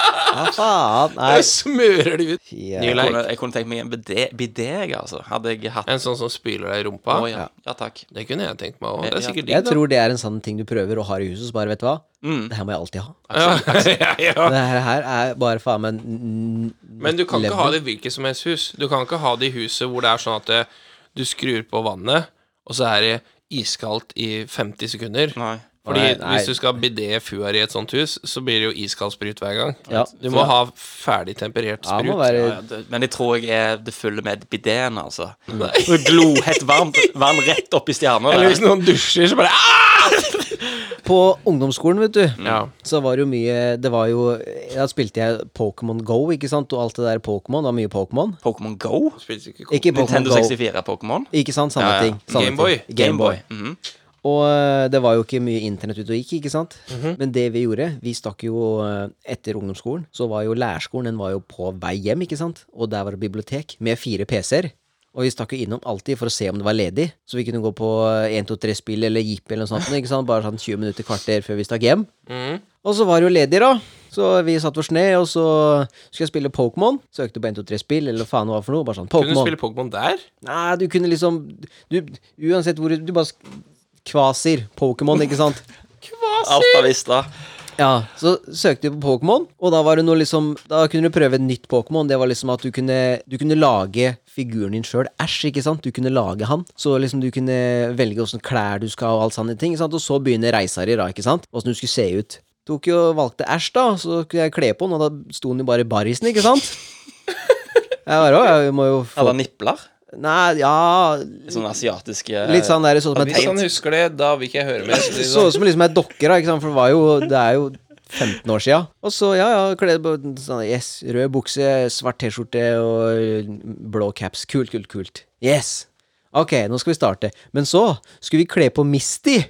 C: faen. Nei.
B: Jeg smører det ut.
C: fy, eh,
B: Ny
A: Jeg
B: Leik.
A: kunne, jeg kunne tenkt meg en bidé, bidé jeg, altså. Hadde jeg hatt
B: En sånn som spyler deg i rumpa.
A: Å ja. ja, takk.
B: Det kunne jeg tenkt meg òg. Det er
A: Ja.
B: sikkert
C: Jeg
B: digg, da.
C: tror det er en sånn ting du prøver og har i huset. Så bare, vet du hva?
A: Mm.
C: Det her må jeg alltid ha.
B: Ja, ja, ja.
C: Det her, her er bare faen meg n- n-
B: Men du kan
C: level.
B: ikke ha det i hvilket som helst hus. Du kan ikke ha det i huset hvor det er sånn at eh, du skrur på vannet, og så er det iskaldt i 50 sekunder.
A: Nei.
B: Fordi
C: Nei, nei.
B: hvis du skal bidé fuar i et sånt hus, så blir det jo iskald sprut hver gang.
C: Ja.
B: Du må ha ferdig temperert
C: Ja, det må
B: sprut.
A: Ja,
C: være
A: ja, det, men jeg tror jeg er det fulle med bideen, altså. Så Glohett varmt vann rett opp i stjerna.
B: Eller
A: der.
B: hvis noen dusjer, så bare ah!
C: På ungdomsskolen, vet du,
B: Ja.
C: så var det jo mye Det var jo Da spilte jeg Pokémon Go, ikke sant, og alt det der Pokémon. Det var mye Pokémon.
A: Pokémon Go?
B: Spilte ikke kort.
C: Ikke Pokémon
A: Nintendo
C: Go.
A: 64-Pokémon?
C: Ikke sant? Samme
A: Ja, ja.
C: ting. samme
B: Gameboy.
C: ting. Gameboy.
A: Mhm.
C: Og eh, det var jo ikke mye internett ute og gikk, ikke sant?
B: Mhm.
C: Men det vi gjorde, vi stakk jo eh, etter ungdomsskolen, så var jo lærerskolen den var jo på vei hjem, ikke sant? Og der var det bibliotek med fire PC-er. Og vi stakk jo innom alltid for å se om det var ledig, så vi kunne gå på 1-2-3-spill eller Jeep eller noe sånt, ikke sant? Bare sånn 20 minutter, kvarter før vi stakk hjem.
B: Mhm.
C: Og så var det jo ledig, da. Så vi satt oss ned, og så skulle jeg spille Pokémon. Søkte på 1-2-3-spill eller hva faen det var for noe. Bare sånn
B: Kunne du
C: Pokémon.
B: spille Pokémon der?
C: Nei, du kunne liksom du, Uansett hvor du- Du bare sk- kvaser Pokémon, ikke sant?
A: Alt av Vista.
C: Ja, Så søkte du på Pokémon, og da var det noe liksom Da kunne du prøve et nytt Pokémon. Det var liksom at du kunne Du kunne lage figuren din sjøl. Æsj, ikke sant? Du kunne lage han. Så liksom du kunne velge åssen klær du skal, og alt sånne ting. Ikke sant? Og så begynner reisa di, da, ikke sant? Åssen du skulle se ut. Tok jo Valgte æsj, da, så kunne jeg kle på den, og da sto den jo bare i barrisen, ikke sant? Jeg bare «Å, jeg må jo
A: Eller
C: få
A: nipler.
C: Nei, ja
A: Sånne asiatiske
C: Litt sånn der, sånn som en
B: Hvis han husker det, da vil ikke jeg høre mer. Så
C: Det
B: det er
C: så
B: sånn-
C: ut som liksom ei dokke, da, ikke sant? for det, var jo, det er jo 15 år sia. Og så, ja, ja, kledd på sånn, yes, rød bukse, svart T-skjorte og blå caps. Kult, kult, kult. Yes! Ok, nå skal vi starte. Men så skulle vi kle på Misty.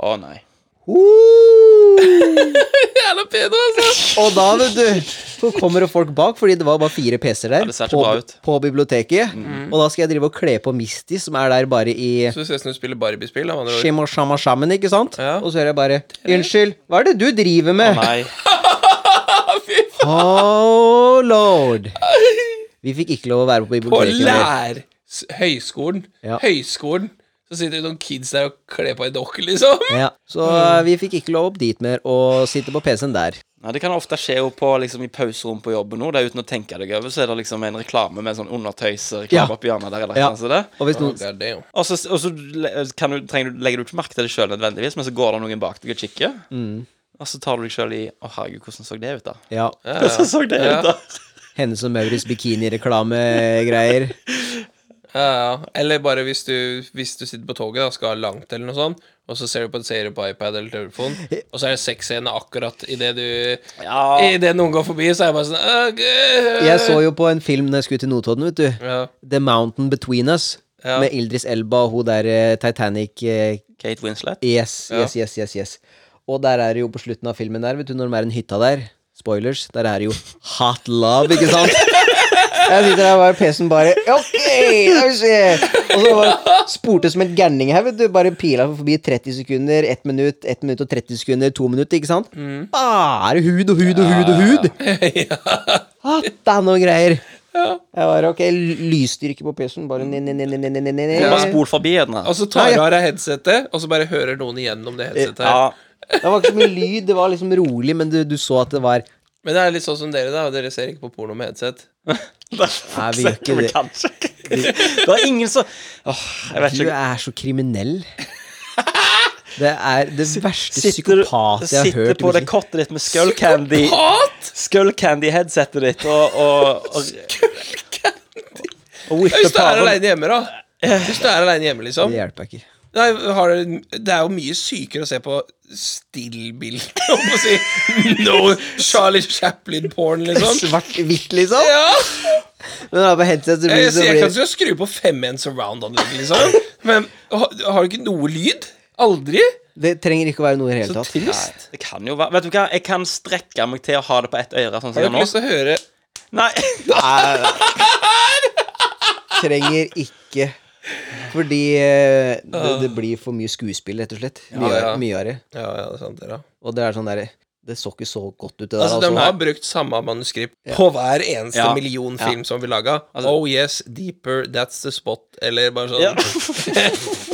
A: Å, nei.
C: Uh!
B: Jævla pedo, altså!
C: Og da, vet du, så kommer det folk bak, fordi det var bare fire PC-er der
A: Ja, det ser ikke
C: på,
A: bra ut. Mm.
C: på biblioteket. Og da skal jeg drive og kle på Misty, som er der bare i
B: Så det ser ut som du spiller Barbie-spill. da, med andre ord.
C: Shim og Shama Shaman, ikke sant?
B: Ja.
C: Og så hører jeg bare Unnskyld, hva er det du driver med?
A: Nei.
C: Oh lord. Vi fikk ikke lov å være på
B: På
C: biblioteket. mer.
B: lær... s- Høyskolen.
C: Ja.
B: Høyskolen. Så sitter det noen kids der og kler på ei dokke, liksom.
C: Ja, så eh, vi fikk ikke lov opp dit mer og sitte på PC-en der.
A: Ja, det kan ofte skje jo på, liksom, i pauserom på jobben nå, det er uten å tenke deg over, så er det liksom en reklame med en sånn undertøysreklame
C: Ja.
A: opp i hjørnet der. eller
C: Ja.
A: noe sånt der.
C: Og hvis noen
B: Det er det, jo.
A: Og så, og så le- kan du, trenger du, legger du ikke merke til det sjøl nødvendigvis, men så går det noen bak deg og kikker,
C: mm,
A: og så tar du deg sjøl i Å, herregud, hvordan så det ut, da?
C: Ja.
B: Ja, ja.
A: Hvordan så det
B: Ja.
A: ut, da?
C: Hennes og Maurits bikinireklamegreier.
B: Ja, ja. Eller bare hvis du, hvis du sitter på toget og skal langt, eller noe sånt, og så ser du på en serie på iPad eller telefon, og så er det sexscene akkurat idet du
A: Ja.
B: Idet noen går forbi, så er jeg bare sånn «Åh, gud!»
C: Jeg så jo på en film når jeg skulle til Notodden, vet du.
B: ja.
C: The Mountain Between Us.
B: Ja.
C: Med Ildris Elba og hun der eh, Titanic eh,
A: Kate Winslet.
C: Yes,
B: Ja.
C: yes, yes, yes, yes. Og der er det jo på slutten av filmen der, vet du, når de er i den hytta der Spoilers, der er det jo hot love, ikke sant? Jeg sitter der og bare PC-en bare Ok, da vil vi se. Og så bare spurte som en gærning her, vet du. Bare pila forbi 30 sekunder, 1 minutt, 1 minutt og 30 sekunder, 2 minutter, ikke sant? Bare hud og hud og hud og hud. Hatta noe greier. Jeg bare ok, lysstyrke på PC-en, bare ned, ned, ned, ned, ned, ned, ned, ned.
A: Kom bare spol forbi den.
B: Og så tar du av deg headsetet, og så bare hører noen igjennom
C: Eh,
B: det headsetet her.
A: Ja.
C: Det var ikke så mye lyd, det var liksom rolig, men du, du så at det var
B: Men det er litt sånn som dere, da. Dere ser ikke på porno med headset.
A: Nei,
C: vi gjør ikke det.
A: Kanskje. Det var ingen som Åh, jeg vet
C: Du
A: ikke.
C: er så kriminell. Det er det verste
A: Sitter,
C: psykopat jeg har
A: sitter
C: hørt. i
A: på det
C: mitt liv.
A: kottet ditt med skull candy
C: Eh,
B: Hat!
A: Skull candy-headsetet ditt og, og, og, og whippe
B: Hvis du er
A: paven.
B: aleine hjemme, da. Hvis du er alene hjemme, liksom.
C: Det hjelper ikke.
B: Nei, har dere, det er jo mye sykere å se på stillbilder, om å si. No Charlie Chaplin-porn, liksom.
C: Svart-hvitt, liksom.
B: Ja!
C: Men da på headset så blir
B: Jeg,
C: det så
B: jeg kan
C: blir...
B: ikke skru på 5-1 surround-anlegg, liksom. Men har, har du ikke noe lyd? Aldri?
C: Det trenger ikke å være noe i det hele
B: Så
C: tatt.
B: trist.
A: Det kan jo være Vet du hva, jeg kan strekke meg til å ha det på ett øre, sånn som
B: Har du
A: jeg
B: ikke
A: nå.
B: lyst til å høre
A: Nei.
C: Trenger ikke. Fordi eh, det, det blir for mye skuespill, rett og slett. Mye,
B: Ja, ja.
C: mye av det.
B: Ja, ja, det er sant, dere.
C: Og det er sånn derre Det så ikke så godt ut, det der.
B: Altså,
C: Altså,
B: de har brukt samme manuskript på hver eneste
A: sånn. Ja.
B: million film som vi laga.
A: Altså-
B: oh yes, deeper, that's the spot, eller bare sånn
A: Ja.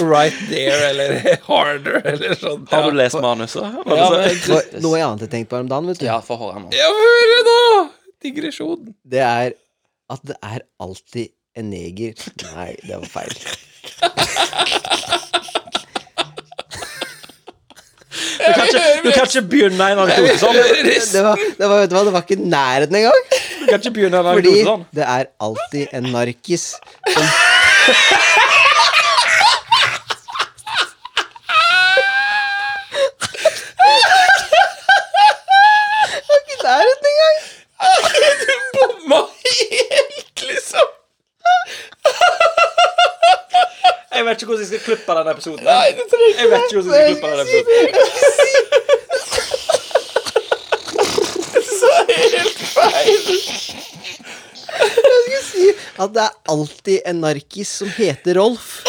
B: Right there, eller harder, eller sånn.
A: Har du lest manuset?
B: Ja,
A: Var det
B: men-
A: så-
C: For, noe jeg annet jeg tenkte på her om dagen, vet du,
A: Ja, få høre nå.
B: Ja, hør nå! Digresjon.
C: det er at det er alltid en neger Nei, det var feil.
A: Du kan ikke, du kan ikke begynne en anekdote sånn.
C: Det var, det var, vet du hva, det var ikke i nærheten engang.
A: Du kan ikke begynne en
C: Fordi
A: anekdote sånn.
C: det er alltid en narkis som Det var ikke i nærheten engang.
B: Du bomma helt, liksom.
A: Jeg vet ikke hvordan jeg skal klippe den episoden.
B: Nei, det trenger
A: Jeg vet ikke hvordan jeg skal klippe den episoden.
C: Jeg skulle si at det er alltid en narkis som heter Rolf.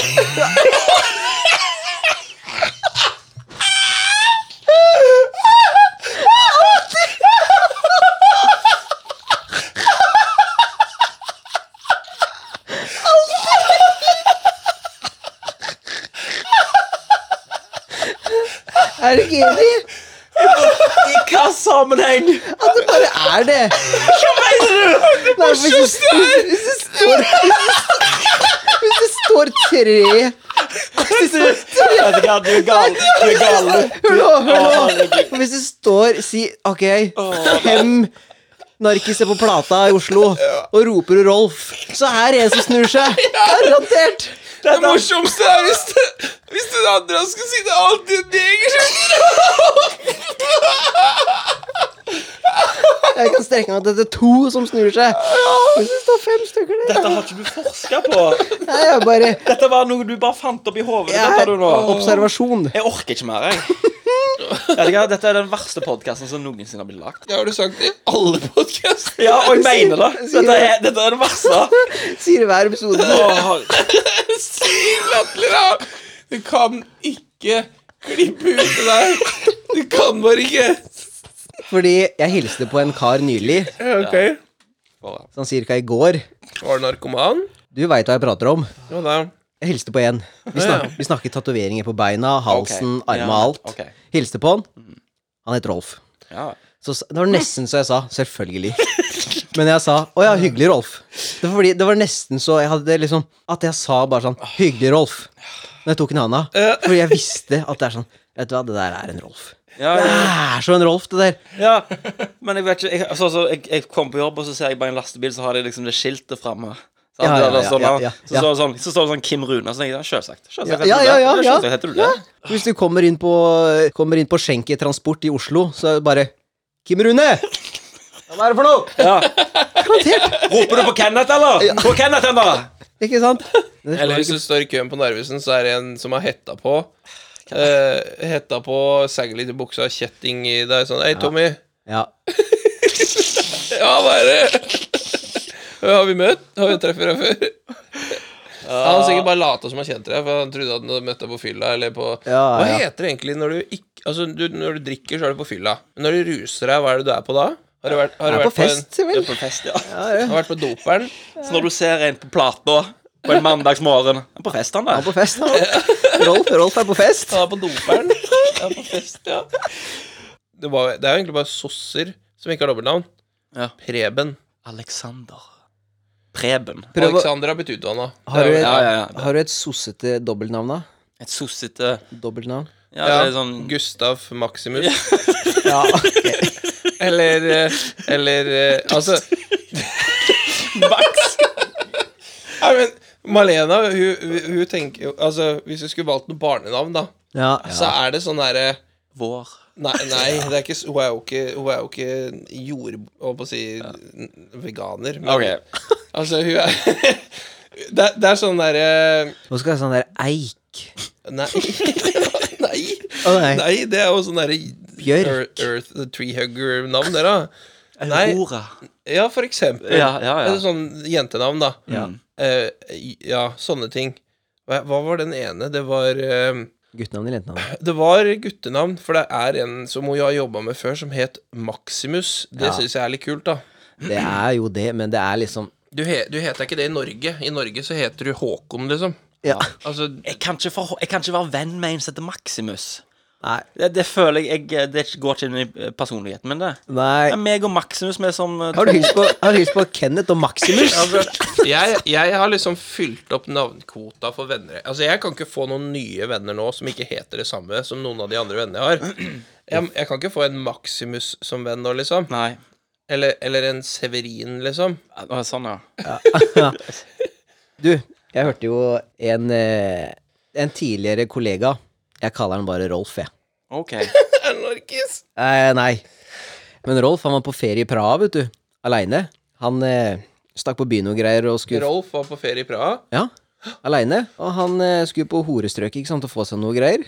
C: Er du ikke enig?
A: I hva sammenheng?
C: At det bare er det.
A: Hva mener du?
C: Nei, hvis, hvis, hvis, det står, hvis det står tre hvis det står tre
A: Vet du hva, du er gal. Du er gal. du. Å,
C: Hør nå, hør
A: herregud.
C: nå. Hvis det står Si OK, fem narkiser på plata i Oslo, og roper du Rolf, så er det en som snur seg. Garantert.
B: Det morsomste er hvis, det, hvis den andre skulle si det er alltid en neger
C: Jeg kan strekke meg til at det er to som snur seg. Hvis det står fem stykker der
A: Dette har ikke du forska på.
C: Nei, jeg er bare
A: Dette var noe du bare fant opp i hodet.
C: jeg
A: Dette
C: er
A: du nå.
C: observasjon.
A: Jeg orker ikke mer, jeg. Vet du hva, Dette er den verste podkasten som noensinne har blitt lagd.
B: Det har du sagt i alle podkaster.
A: Ja, og jeg mener det. Dette er, dette er den verste.
C: Sier det hver episode.
A: Å, her-
B: Syv latterer av! Du kan ikke klippe ut det der. Du kan bare ikke.
C: Fordi jeg hilste på en kar nylig,
B: Ok.
C: sånn cirka i går.
B: Var du narkoman?
C: Du veit hva jeg prater om.
B: Jo da.
C: Jeg hilste på en. Vi,
B: Ja, ja.
C: snak, vi snakker tatoveringer på beina, halsen,
A: Ok, ja,
C: armene, alt.
A: ok.
C: Hilste på han. Han het Rolf.
A: Ja.
C: Så, s- det var nesten så jeg sa 'selvfølgelig'. Men jeg sa 'Å ja, hyggelig, Rolf'. Det var, fordi, det var nesten så jeg hadde liksom At jeg sa bare sånn 'Hyggelig, Rolf'. Når jeg tok en handa. Fordi jeg visste at det er sånn Vet du hva, det der er en Rolf.
A: Ja,
C: Det
A: ja,
C: er så en Rolf, det der.
A: ja. Men jeg vet ikke Jeg, altså, altså, jeg, jeg kom på jobb, og så ser jeg bare en lastebil, så har de liksom det skiltet framme. Så,
C: Ja, ja, ja,
A: står det
C: ja, ja,
A: så, står det sånn, så står det sånn Kim Rune. Så tenker jeg, selvsagt.
C: Ja,
A: Selvsagt
C: ja,
A: heter du
C: ja,
A: det.
C: ja, ja.
A: Selvsagt heter du det.
C: Hvis du kommer inn på Kommer inn på Schenke Transport i Oslo, så er det bare 'Kim Rune'! Hva er det for noe?
A: Ja.
C: Garantert!
A: Roper du på Kenneth, eller? På Kenneth, eller?
C: Ikke sant? Det
B: Eller
C: var
B: hvis
C: ikke-
B: du står i køen på Narvesen, så er det en som har hetta på. eh, hetta på, sagger litt i buksa, kjetting i deg, sånn Hei, Tommy.
C: Ja.
B: Ja, hva er det? har vi møtt? Har vi treffet deg før? Han har sikkert bare lata som han kjente deg, for han trodde at han hadde møtt deg på fylla. Eller på
C: Ja,
B: Hva
C: Ah, ja.
B: heter det egentlig når du ikke Altså, du, når du drikker, så er du på fylla. Men når du ruser deg, hva er det du er på da? Har du vært, har
C: Jeg
B: du
C: er på
B: vært, på, en,
C: fest,
A: Du
C: vel.
A: er på fest, ja.
C: Ja, ja.
B: har du vært på doperen?
A: Så når du ser en på plata på en mandagsmorgen Han er På fest, han
C: Han er
A: der.
C: på fest, han. Rolf, Rolf er på fest.
B: Han er på doperen. Han er på fest, ja. Det, var, det er jo egentlig bare sosser som ikke har dobbeltnavn.
A: Ja.
B: Preben.
A: Alexander. Preben.
C: Prøv å-
B: Alexander har blitt utvanna.
C: Har du, et,
A: Ja, ja, ja.
C: har du et sossete dobbeltnavn, da?
A: Et sossete
C: Dobbeltnavn?
A: Ja,
B: Ja,
A: det er sånn
B: Gustav Maximus.
C: Ja, ok.
B: Eller eh, Eller eh, Altså
A: Max.
B: Nei, men Malena, hun, hun, hun tenker jo Altså, hvis du skulle valgt noe barnenavn, da,
C: Ja,
B: så
C: ja.
B: er det sånn derre
A: Vår.
B: Nei, nei det er ikke, s- hun er jo ikke Hun er jo ikke jord... Holdt på å si n- veganer. Men, Altså, hun er det, er- det er sånn derre
C: Nå skal jeg ha sånn der eik.
B: Nei. nei.
C: Å nei.
B: Nei, det er jo sånn derre
C: Bjørk.
B: Earth, Earth the Tree Hugger-navn, det, da. Nei.
A: Aurora.
B: Ja, for eksempel.
A: Ja, ja, ja.
B: Det er Sånn jentenavn, da.
C: Ja.
B: Eh, ja, sånne ting. Hva, hva var den ene? Det var eh,
C: Guttenavn eller jentenavn?
B: Det var guttenavn, for det er en som hun har jobba med før, som het Maximus. Det
C: Ja.
B: synes syns jeg er litt kult, da.
C: Det er jo det, men det er liksom
B: Du, he, du heter ikke det i Norge. I Norge så heter du Håkon, liksom.
C: Ja.
B: Altså,
A: Jeg kan, ikke for, jeg kan ikke være venn med en som heter Maximus.
C: Nei.
A: Det, det føler jeg, jeg eh, Det går ikke inn i eh, personligheten min, det.
C: nei.
A: Ja, meg og Maximus, vi er som eh,
C: Har du hilst på, har du hilst på Kenneth og Maximus?
B: jeg, jeg har liksom fylt opp navnkvota for venner. Altså, jeg kan ikke få noen nye venner nå som ikke heter det samme som noen av de andre vennene jeg har. Jeg, jeg kan ikke få en Maximus som venn nå, liksom.
A: Nei.
B: Eller, eller en Severin, liksom.
A: Ja, Sånn, ja.
C: Du, jeg hørte jo en, eh, en tidligere kollega Jeg kaller han bare Rolf, jeg.
A: OK.
B: Anarkis!
C: Eh, nei. Men Rolf han var på ferie i Praha, vet du. Aleine. Han eh, stakk på byen og greier og skulle
B: Rolf var på ferie i Praha.
C: Ja, aleine. Og han eh, skulle på horestrøket ikke sant, og få seg noe greier.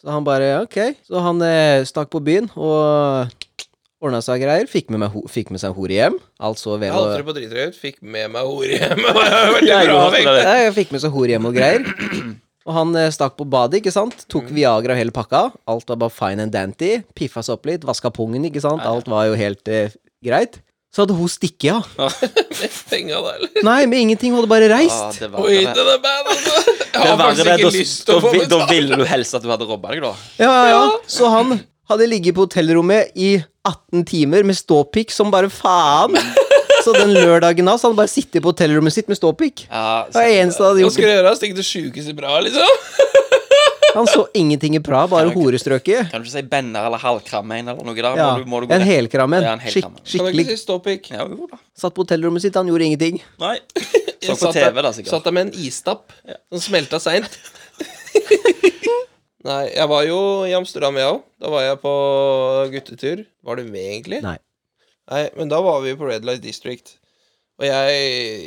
C: Så han bare ok. Så han eh, stakk på byen og ordna seg greier. Fikk med, meg, ho- fikk med seg en hore hjem. Alt så
B: Jeg
C: vel
B: holdt
C: og
B: det på dritrøy ut, fikk med meg hore hjem. og jeg har vært i Praha,
A: Jeg går også
B: vet
A: til
B: du.
A: det.
C: Ja, jeg fikk med seg hore hjem og greier. Og han eh, stakk på badet, ikke sant. Tok Viagra og hele pakka. Alt var bare fine and dandy. Piffa seg opp litt, vaska pungen, ikke sant. Alt var jo helt eh, greit. Så hadde hun stikket av.
B: Med penga da, eller?
C: Nei, med ingenting. Hun hadde bare
A: Ja,
C: reist.
A: det var
B: Oi, den er bad, altså. Jeg
A: Det
B: har
A: var
B: faktisk
A: det,
B: ikke
A: da-
B: lyst til å
A: da
B: få
A: vil-
B: med
A: Da ville du helst at du hadde robba deg, da.
C: Ja, ja, ja. Så han hadde ligget på hotellrommet i 18 timer med ståpikk som bare faen. Så den lørdagen da, så hadde han bare sittet på hotellrommet sitt med ståpikk.
A: Ja,
C: Det var det eneste han hadde
B: Hva
C: gjort.
B: skulle jeg gjøre? Stikke til sjukeste Praha, liksom?
C: Han så ingenting i Praha, bare horestrøket.
A: Kan du ikke si benner eller halvkramme en eller noe der?
C: Ja,
A: Må du, må du gå
C: en
A: rett-
C: helkrammen.
A: Ja, en
C: Skikk,
B: Kan
A: helkrammen.
B: du ikke
C: skikkelig.
B: si stoppik?
A: Ja, jo da.
C: Satt på hotellrommet sitt, han gjorde ingenting.
A: Nei. Så
B: Jeg
A: på
B: satt der-
A: TV, da, sikkert.
B: Satt der med en istapp som smelta seint. Nei, jeg var jo i Amsterdam, jeg òg. Da var jeg på guttetur. Var du med, egentlig?
C: Nei.
B: Nei, men da var vi på Red Light District. Og jeg,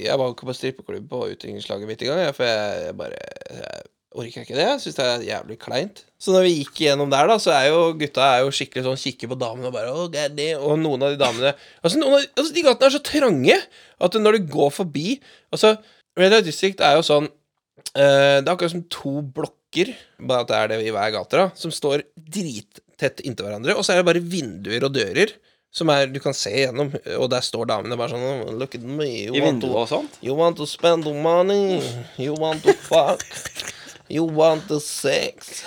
B: jeg var jo ikke på strippeklubb på utdrikningslaget mitt engang, jeg, for jeg, jeg bare jeg orker ikke det. Jeg syns det er jævlig kleint. Så når vi gikk gjennom der, da, så er jo gutta er jo skikkelig sånn kikker på damene og bare Å, det er det. Og noen av de damene Altså, noen av, altså de gatene er så trange at når du går forbi Altså, Red Light District er jo sånn eh, Det er akkurat som to blokker, bare at det er det i hver gate, da, som står drittett inntil hverandre, og så er det bare vinduer og dører som er, du kan se gjennom, og der står damene bare sånn «Oh, Look at me, you
A: I
B: want
A: vinduer
B: to,
A: og sånt.
B: you want to spend the money, you want to fuck, you want the sex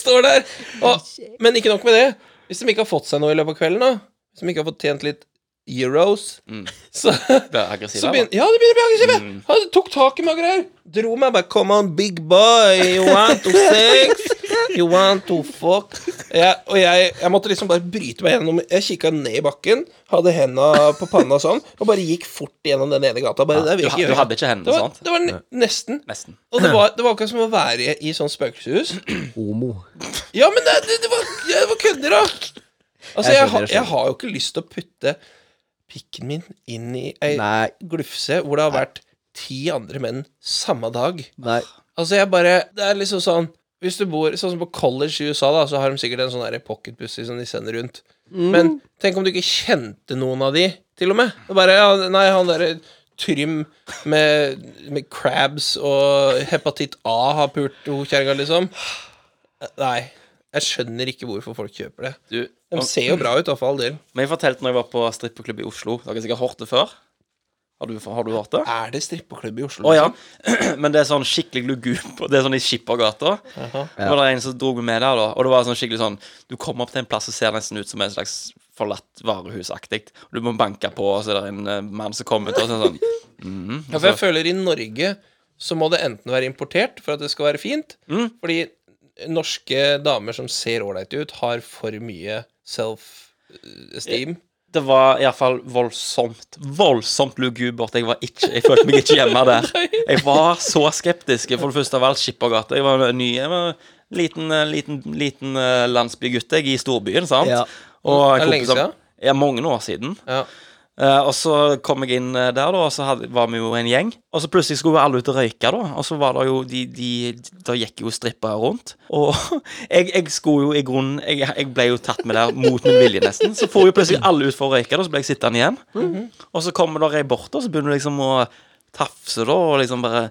B: Står der! Og, men ikke nok med det. Hvis de ikke har fått seg noe i løpet av kvelden, da, som ikke har fått tjent litt euros,
A: Mm.
B: så,
A: Det er aggressiv,
B: så begynner Ja, det begynner å bli aggressive! Han tok tak i meg og greier. Mm. Dro meg bare Come on, big boy. You want to sex? You want to fuck? Jeg, og jeg, jeg måtte liksom bare bryte meg gjennom. Jeg kikka ned i bakken, hadde henda på panna sånn, og bare gikk fort gjennom den ene gata. Bare, det
A: du,
B: vil jeg
A: ha-
B: ikke
A: du
B: gjøre.
A: hadde ikke hendene,
B: Det var,
A: sant?
B: det var ne nesten.
A: Nesten.
B: Og det var, det var akkurat som å være i, i sånn spøkelseshus.
C: Homo.
B: Ja, men det, det, det, var, det var kødder, da! Altså, jeg,
C: Jeg skjønner,
B: har-
C: jeg
B: jeg
C: skjønner.
B: har jo ikke lyst til å putte pikken min inn i ei
C: Nei.
B: glufse hvor det har vært ti andre menn samme dag.
C: Nei.
B: Altså, jeg bare Det er liksom sånn Hvis du bor sånn som på college i USA, da, så har de sikkert en sånn derre pocketpussy som de sender rundt. Men tenk om du ikke kjente noen av de, til og med. Det bare, ja, nei, han derre Trym med, med crabs og hepatitt A har pult hun kjerringa, liksom. Nei. Jeg skjønner ikke hvorfor folk kjøper det.
A: Du,
B: De
A: om-
B: ser jo bra ut, da, for all del.
A: men jeg fortalte når jeg var på strippeklubb i Oslo Dere har sikkert hørt det før? Har du, har du hørt det?
B: Er det strippeklubb i Oslo? liksom?
A: Å ja. Men det er sånn skikkelig lugub. Det er sånn i Skippergata. Det var det en som dro meg med der, da. Og det var sånn skikkelig sånn Du kommer opp til en plass og ser nesten ut som en slags forlatt varehusaktig. Du må banke på, og så er det en eh, mann som kommer ut og så er det sånn
B: Ja, for jeg føler i Norge så må det enten være importert for at det skal være fint,
A: Mm.
B: fordi norske damer som ser ålreite ut, har for mye eh, self-esteem.
A: Det var iallfall voldsomt, voldsomt lugubert. Jeg var ikke Jeg følte meg ikke hjemme der. Jeg var så skeptisk. For det første av alt Skippergata. Jeg var ny. Jeg var en liten, eh, liten, liten eh, landsbygutt jeg, i storbyen, sant?
C: Ja.
A: Og
B: Er det lenge
A: kompiser-
B: siden?
A: Ja, mange år siden.
B: Ja.
A: Eh, og så kom jeg inn eh, der, da, og så hadde, var vi jo en gjeng. Og så plutselig skulle alle ut og røyke, da. Og så var det jo de, de Da gikk jo strippere rundt. Og jeg, jeg skulle jo i grunnen jeg, jeg ble jo tatt med der mot min vilje, nesten. Så får jo plutselig alle ut for å røyke, da, så ble jeg sittende igjen.
B: Mhm.
A: Og så kommer der ei bort, og så begynner du liksom å tafse, da, og liksom bare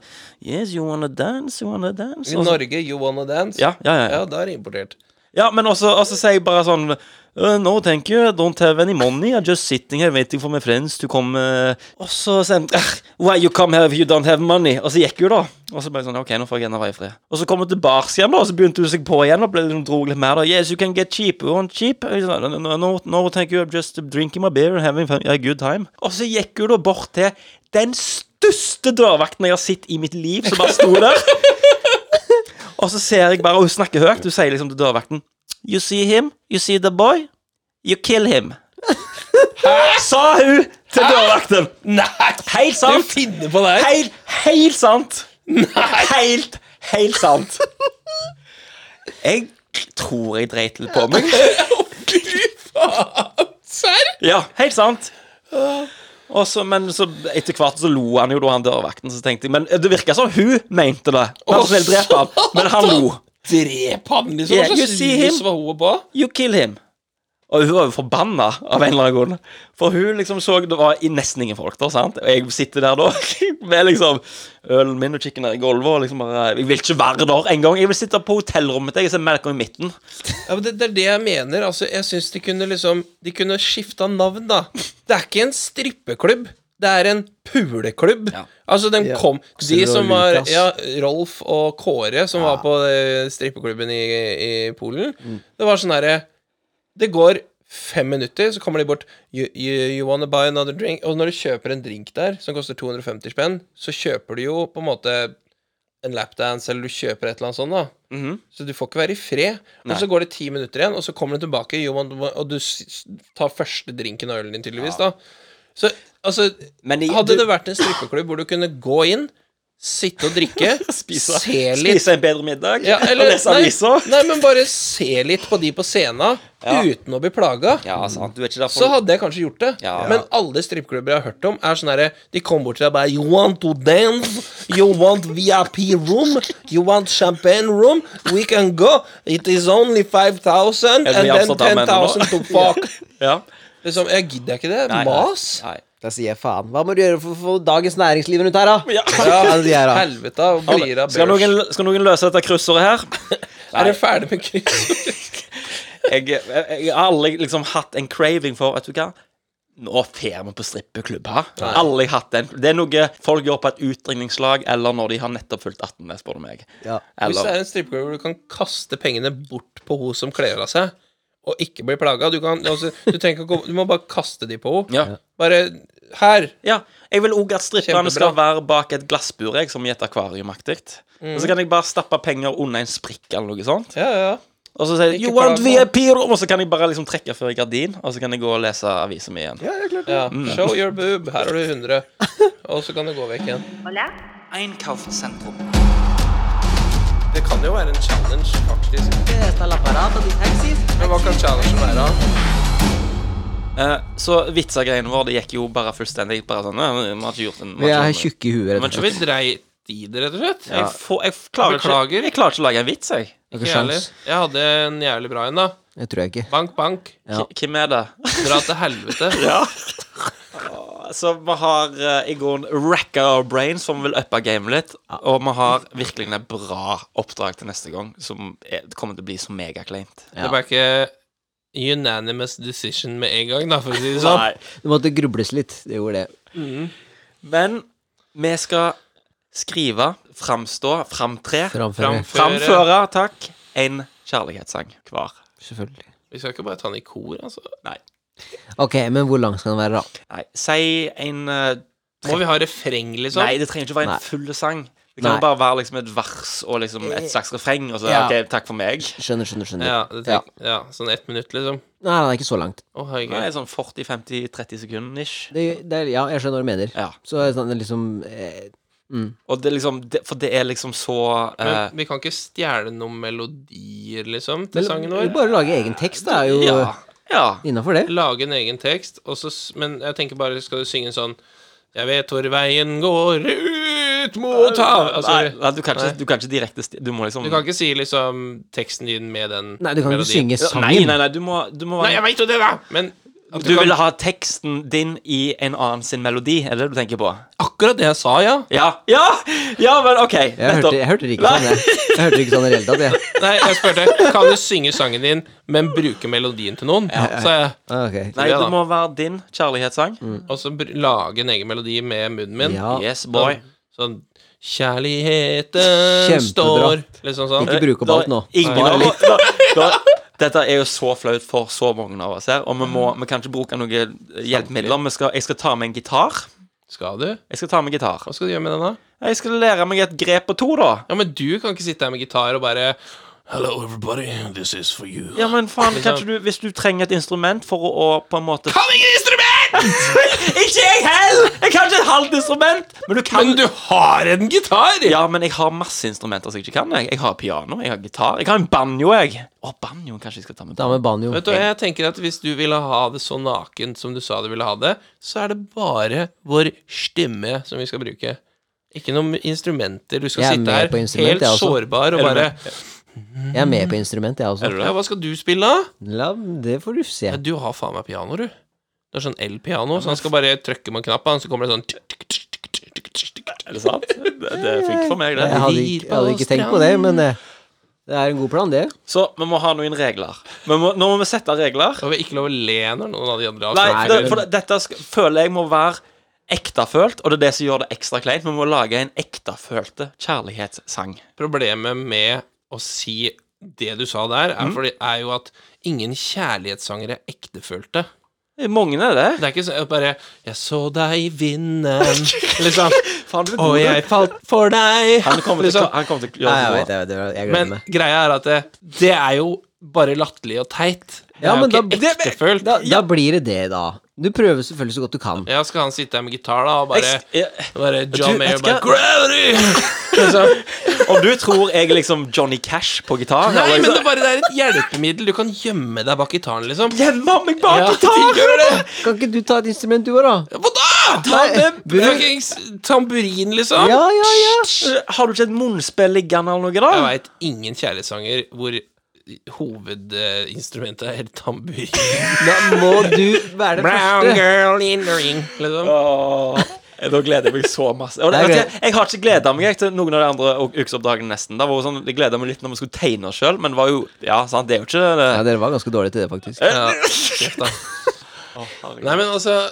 A: Yes, you wanna dance, you wanna dance.
B: I
A: Og så-
B: Norge, you wanna dance?
A: Sånn ja, ja, ja, ja.
B: Ja, da er det importert.
A: Ja, men også, også sier jeg bare sånn «Uh, No, thank you. I Don't have any money. I'm just sitting here waiting for my friends to come uh, Og så sier han «Ah, Why you come here if you don't have money? Og så gikk hun, da. Og så bare sånn OK, nå får jeg henne være i fred. Og så kom hun tilbake igjen, da, og så begynte hun seg på igjen og ble, hun dro litt mer. da Yes, you can get cheap. You want cheap? Jeg sa, No, no, no, no, thank you. I'm just drinking my beer and having fun- a good time. Og så gikk hun da bort til den største dørvakten jeg har sett i mitt liv, som bare sto der. Og så ser jeg bare, og hun snakker høyt, hun sier liksom til dørvakten You see him, you see the boy, you kill him. Sa hun til dørvakten.
B: Nei!
A: Helt
B: Du
A: sant.
B: finner på det her!
A: Helt, helt sant. Helt, helt sant. Jeg tror jeg dreit litt på meg.
B: Å, Fy faen! Serr?
A: Ja, helt sant. Og så, men så etter hvert så lo han jo da han dørvakten, så tenkte jeg Men det virka som hun mente det. Han ville drepe han, men han lo.
B: Drep han, liksom.
A: Yeah,
B: Hva
A: you
B: slags
A: see him.
B: rus var hun på?
A: You kill him. Og hun var jo forbanna av en eller annen grunn. For hun liksom så det var i nesten ingen folk der, sant? Og jeg sitter der da med liksom ølen min og chicken her i gulvet og liksom bare Jeg vil ikke være der engang. Jeg vil sitte på hotellrommet til jeg ser Malcolm i midten.
B: Ja, men det, det er det jeg mener. Altså, jeg syns de kunne liksom De kunne skifta navn, da. Det er ikke en strippeklubb. Det er en puleklubb. Altså, den
C: Ja.
B: kom De
C: Silje og
B: som var
C: Lukas.
B: Ja, Rolf og Kåre, som var på eh, strippeklubben i, i Polen,
C: Mm.
B: det var sånn herre Det går fem minutter, så kommer de bort you, you, you wanna buy another drink? Og når du kjøper en drink der som koster 250 spenn, så kjøper du jo på en måte en lapdance, eller du kjøper et eller annet sånt, da.
A: Mhm.
B: Så du får ikke være i fred. Og så går det ti minutter igjen, og så kommer du tilbake, jo, man- og du s- s- tar første drinken av ølen din, tydeligvis, da. Så altså
A: Men i-
B: Hadde
A: du-
B: det vært en strippeklubb hvor du kunne gå inn, sitte og drikke,
A: Spise,
B: se litt
A: spise en bedre middag
B: ja, eller,
A: og lese
B: nei,
A: aviser.
B: nei, men bare se litt på de på scenen uten å bli plaga.
A: Ja, sant. Du er ikke der
B: Så
A: for
B: hadde jeg kanskje gjort det.
A: Ja.
B: Men alle strippeklubber jeg har hørt om, er sånn herre De kommer bort til deg og bare You want to dance? You want VIP room? You want champagne room? We can go. It is only 5000 and
A: Eller i
B: then
A: Amsterdam ennå.
B: 10,000 to fuck.
A: ja.
B: liksom, jeg gidder ikke det.
A: Nei, nei.
B: Mas.
A: Nei.
C: Da sier jeg faen. Hva må du gjøre for å få dagens næringsliv rundt her, da?
A: Ja.
C: Ja, det sier jeg da.
B: Helvete og blir av børs.
A: Skal noen, skal noen løse dette kryssordet her?
B: Er dere ferdig med kryss?
A: jeg, jeg, jeg har aldri liksom hatt en craving for Vet du hva? Nå fer vi på strippeklubb her. Aldri hatt den. Det er noe folk gjør på et utringningslag eller når de har nettopp fylt 18, spør du meg.
C: Ja.
B: Hvis det
A: Eller
B: er en strippeklubb hvor du kan kaste pengene bort på hun som kler av seg, og ikke bli plaga. Du, kan, altså, du, trenger ikke å gå- du må bare kaste de på henne.
A: Ja.
B: Bare Her!
A: ja. Jeg vil òg at stripperne
B: Kjempebra.
A: skal være bak et glassbur, jeg, som i et akvariumaktig. Og
B: Mm.
A: så kan jeg bare stappe penger under en sprikk eller noe sånt.
B: Ja, ja.
A: Og så sier jeg
B: Ikke
A: 'You want
B: plaga.
A: VIP room?' Og så kan jeg bare liksom trekke før i gardin, og så kan jeg gå og lese avisa mi igjen.
B: ja, ja. Show your boob. Her har du 100. Og så kan du gå vekk igjen.
D: Hola.
A: Einkaufssentrum.
B: Det kan jo være en challenge, faktisk. Men hva kan challengen være?
A: Eh, så vitsegreiene våre, det gikk jo bare fullstendig bare sånn «Nei, Vi har ikke gjort en vi
C: Vi
A: har
C: er
A: ikke gjort
C: tjukke i huet, rett
A: Men
C: og
A: så
C: slett.
B: Vi dreit i det, rett og slett.
A: en- Jeg, får, jeg, klarer
B: Beklager.
A: ikke, jeg klarer ikke å lage en vits, jeg.
C: Ikke
B: Ikke jævlig.
C: sjans.
B: Jeg hadde en jævlig bra en, da.
C: Det tror jeg ikke.
B: Bank, bank.
C: Ja.
A: K- Hvem er det?
B: Dra til helvete.
A: Ja. Så vi har eh, i grunnen racka our brains, som vil uppe gamet litt. Og vi har virkelig et bra oppdrag til neste gang, som er, kommer til å bli så megakleint.
B: Det ble ikke unanimous decision med en gang, da, for å si det sånn.
A: Nei.
C: Det måtte grubles litt. Det gjorde det.
A: Men vi skal skrive, framstå, framtre,
C: Framføre.
B: Framføre.
A: framføre, takk, en kjærlighetssang hver.
C: Selvfølgelig.
B: Vi skal ikke bare ta den i kor, altså.
C: Ok, men hvor lang skal den være, da?
A: Nei, si en eh,
B: Må vi ha refreng, liksom?
A: Nei, det trenger ikke være en
C: Sånn? Nei.
A: full sang. Det kan
C: Nei. Eh,
A: bare være liksom et vers og liksom et slags refreng, og så
C: Ja.
A: OK, takk for meg.
C: Skjønner, skjønner, skjønner.
B: Ja, det tenk, ja. sånn ett minutt, liksom.
C: Nei, den er ikke så langt.
B: Å,
A: Det
B: herregud.
A: er sånn 40-50-30 sekunder ish.
C: Det, det er, ja, jeg skjønner hva du mener.
A: Ja.
C: Så er det sånn liksom eh, mm.
A: Og det er liksom det, For det er liksom så eh,
B: Men vi kan ikke stjele noen melodier, liksom, til
C: Men
B: sangen vår.
C: Bare lage egen tekst, det er jo
A: Ja.
C: innenfor
A: ja.
C: innafor det.
B: Lage en egen tekst, og så s- Men jeg tenker bare, skal du synge en sånn Jeg vet hvor veien går ut mot hav altså,
A: nei, nei, du kan ikke,
B: nei.
A: du kan ikke direkte sti- Du må liksom
B: Du kan ikke si liksom teksten din med den
C: Nei, du kan ikke synge
A: Ja,
C: sangen.
A: Nei, nei, nei, du må, du må
B: Nei, jeg
A: være
B: veit jo det, da! Men at
A: Du
B: kan-
A: vil ha teksten din i en annen sin melodi, er det det du tenker på?
B: Akkurat det jeg sa, ja.
A: Ja! Ja, ja men OK.
C: Jeg, hørte,
A: Nettopp.
C: jeg hørte det ikke sånn, jeg. jeg hørte det ikke sånn i det hele tatt, jeg.
B: Nei, jeg spurte Kan du synge sangen din, men bruke melodien til noen. Så jeg,
C: Ah, ok.
A: Nei,
B: Ja, da.
A: det må være din kjærlighetssang.
C: Mm.
B: og så br- lage en egen melodi med munnen min.
C: Ja.
A: Yes, boy.
B: Sånn Kjærligheten
C: Kjempebra.
B: står Liksom sånn.
C: Ikke bruk opp alt nå.
A: Da- Ingen
C: Spar
A: av
C: litt.
A: oss da, da, Dette er jo så flaut for så mange av oss her, og vi, må, vi kan ikke bruke noen hjelpemidler. Vi skal, jeg skal ta med en gitar.
B: Skal du?
A: Jeg skal ta med gitar.
B: Hva skal du gjøre med den, da?
A: Jeg skal lære meg et grep på to, da.
B: Ja, men du kan ikke sitte her med gitar og bare Hello, everybody. This is for you.
A: Ja, men faen, kan ikke du, Hvis du trenger et instrument for å, å på en måte
B: Kan ingen instrument!
A: Ikke jeg heller! Jeg kan ikke et halvt instrument! Men du kan
B: Men du har en gitar!
A: Ja, men jeg har masse instrumenter som jeg ikke kan. Jeg, jeg har piano, jeg har gitar, jeg har en banjo, jeg. Å, banjoen kanskje jeg skal ta med.
C: Ta med banjo.
B: Vet du, hva, jeg tenker at Hvis du ville ha det så nakent som du sa du ville ha det, så er det bare vår stemme som vi skal bruke. Ikke noen instrumenter. Du skal
C: Jeg er
B: sitte
C: med
B: her
C: på instrument,
B: helt
C: jeg også.
B: sårbar og
A: Er du
B: bare
C: Jeg er med på instrument, jeg også.
A: Er du
B: ja,
A: det?
B: Hva skal du spille, da?
C: La, det får du se.
B: Ja, du har faen meg piano, du. Det er sånn elpiano, så han skal bare trykke på en knapp, og så kommer det sånn
A: Er det sant? Det, det funker for meg, det.
C: Jeg hadde ikke, jeg hadde ikke tenkt på det, men eh, det er en god plan, det.
A: Så vi må ha noen regler. Vi må, nå må vi sette regler.
B: Og vi er ikke lov å le når noen av de andre har
A: Nei,
B: sagt
A: for, det, for det, dette sk- føler jeg må være ektefølt, og det er det som gjør det ekstra kleint. Vi må lage en ektefølte kjærlighetssang.
B: Problemet med å si det du sa der, er, fordi, er jo at ingen kjærlighetssangere er ektefølte.
A: Mange er det.
B: Det er ikke sånn at bare 'Jeg så deg i vinden', liksom.
A: Faen, du er
B: Og
A: god.
B: jeg falt for deg.
A: han kommer til,
B: liksom.
A: han kommer til å
C: Nei,
A: gjøre
C: jeg
A: det
C: vet
A: bra.
C: det. Jeg, vet, det, jeg gleder
B: Men
C: meg.
B: greia er at det, det er jo bare latterlig og teit. Det
C: Ja,
B: er
C: men
B: jo
C: da,
B: ikke ektefølt.
C: da, da blir det det, da. Du prøver selvfølgelig så godt du kan.
B: Ja, skal han sitte her med gitar, da, og bare,
A: Jeg-
B: bare John
A: Du,
B: Mayer
A: vet du
B: bare
A: hva?
B: 'Gravity!' liksom.
A: Om du tror jeg er liksom Johnny Cash på gitar
B: Nei,
A: eller
B: men
A: liksom-
B: det er bare det er et hjelpemiddel. Du kan gjemme deg bak gitaren, liksom.
A: Gjemmer meg bak
B: Ja,
A: gitaren!
B: gjør det!
C: Kan ikke du ta et instrument, du òg, da?
B: Hva da?!
C: Nei,
B: med
C: bruk-
B: fuckings tamburin, liksom.
C: Ja, ja, ja.
A: Har du ikke et munnspill liggende eller noe, da?
B: Jeg veit ingen kjærlighetssanger hvor hovedinstrumentet er tamburin.
C: Da må du være det
B: Brown
C: første.
B: girl in the ring, liksom.
A: Åh, Da gleder jeg meg så masse. Og,
C: Nei,
A: vet du,
C: jeg-
A: jeg, jeg har ikke gleda meg jeg, til noen av de andre u- ukesoppdragene, nesten. Det var jo sånn, jeg gleda meg litt når vi skulle tegne oss sjøl, men var jo Ja, sant, det er jo ikke det.
C: Ja, dere var ganske dårlige til det, faktisk.
B: Ja, kjeft, da. Nei, men altså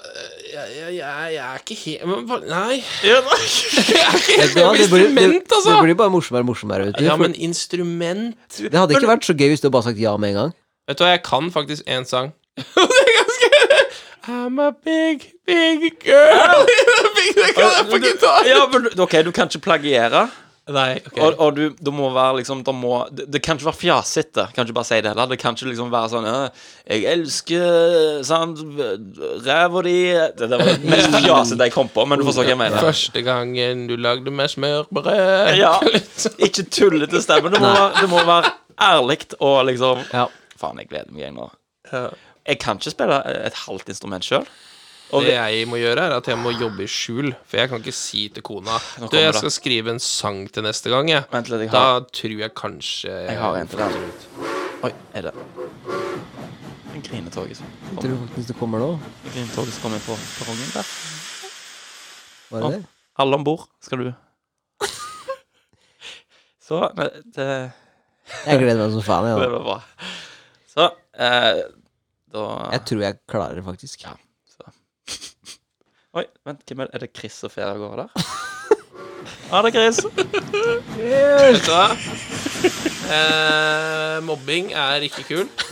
B: Jeg, jeg, jeg jeg er ikke helt men hva- Nei. Jeg er ikke helt
C: Vet du hva,
B: med
C: det blir-
B: instrument,
C: det- Det
B: altså.
C: blir bare morsommere og morsommere, vet du.
B: Ja,
C: for
B: men instrument
C: Det hadde ikke vært så gøy hvis du bare sagt ja med en gang.
B: Vet Vet du hva, jeg kan faktisk én sang. det er ganske I'm a big, big girl big, Det kan jeg på gitar.
A: Ja, men du- OK, du kan ikke plagiere.
B: Nei, ok.
A: Og, og du, du må være liksom det, må, det, det kan ikke være fjasete. Kan ikke bare si det heller. Det kan ikke liksom være sånn «Øh, 'Jeg elsker sant, ræva di' Det, det var det mest fjasete jeg kom på, men du forstår hva jeg mener.
B: Første gangen du lagde meg smørbrød
A: Ja.
B: Litt sånn.
A: Ikke tullete stemme. Det må, være- det må være ærlig og liksom
C: Ja.
A: Faen, jeg gleder meg jeg nå.
B: Ja.
A: Jeg kan ikke spille et halvt instrument sjøl. Og
B: Det
A: vi,
B: jeg må gjøre, er at jeg må jobbe i skjul, for jeg kan ikke si til kona
A: Nå
B: Du,
A: kommer
B: jeg
A: det.
B: skal skrive en sang til neste gang, jeg.
A: Vent litt, jeg har-
B: Da tror jeg kanskje
A: jeg har en til deg. Oi, er det En grinetog som
C: Tror
A: kommer,
C: du faktisk det kommer nå?
A: en grinetog som kommer på perrongen der.
C: Var det det?
A: Alle om bord, skal du. Så men det,
C: Jeg gleder meg som faen.
A: det
C: Jeg, da.
A: var bra. Så eh, da
C: jeg tror jeg klarer det, faktisk.
A: Ja. Oi, vent, hvem er det? Er det Chris og Fea går der? Ha det, Chris.
B: Vet du hva? Eh, mobbing er ikke kult.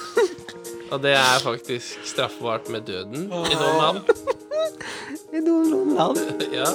B: Og det er faktisk straffbart med døden i noen land.
C: I noen land.
B: Ja.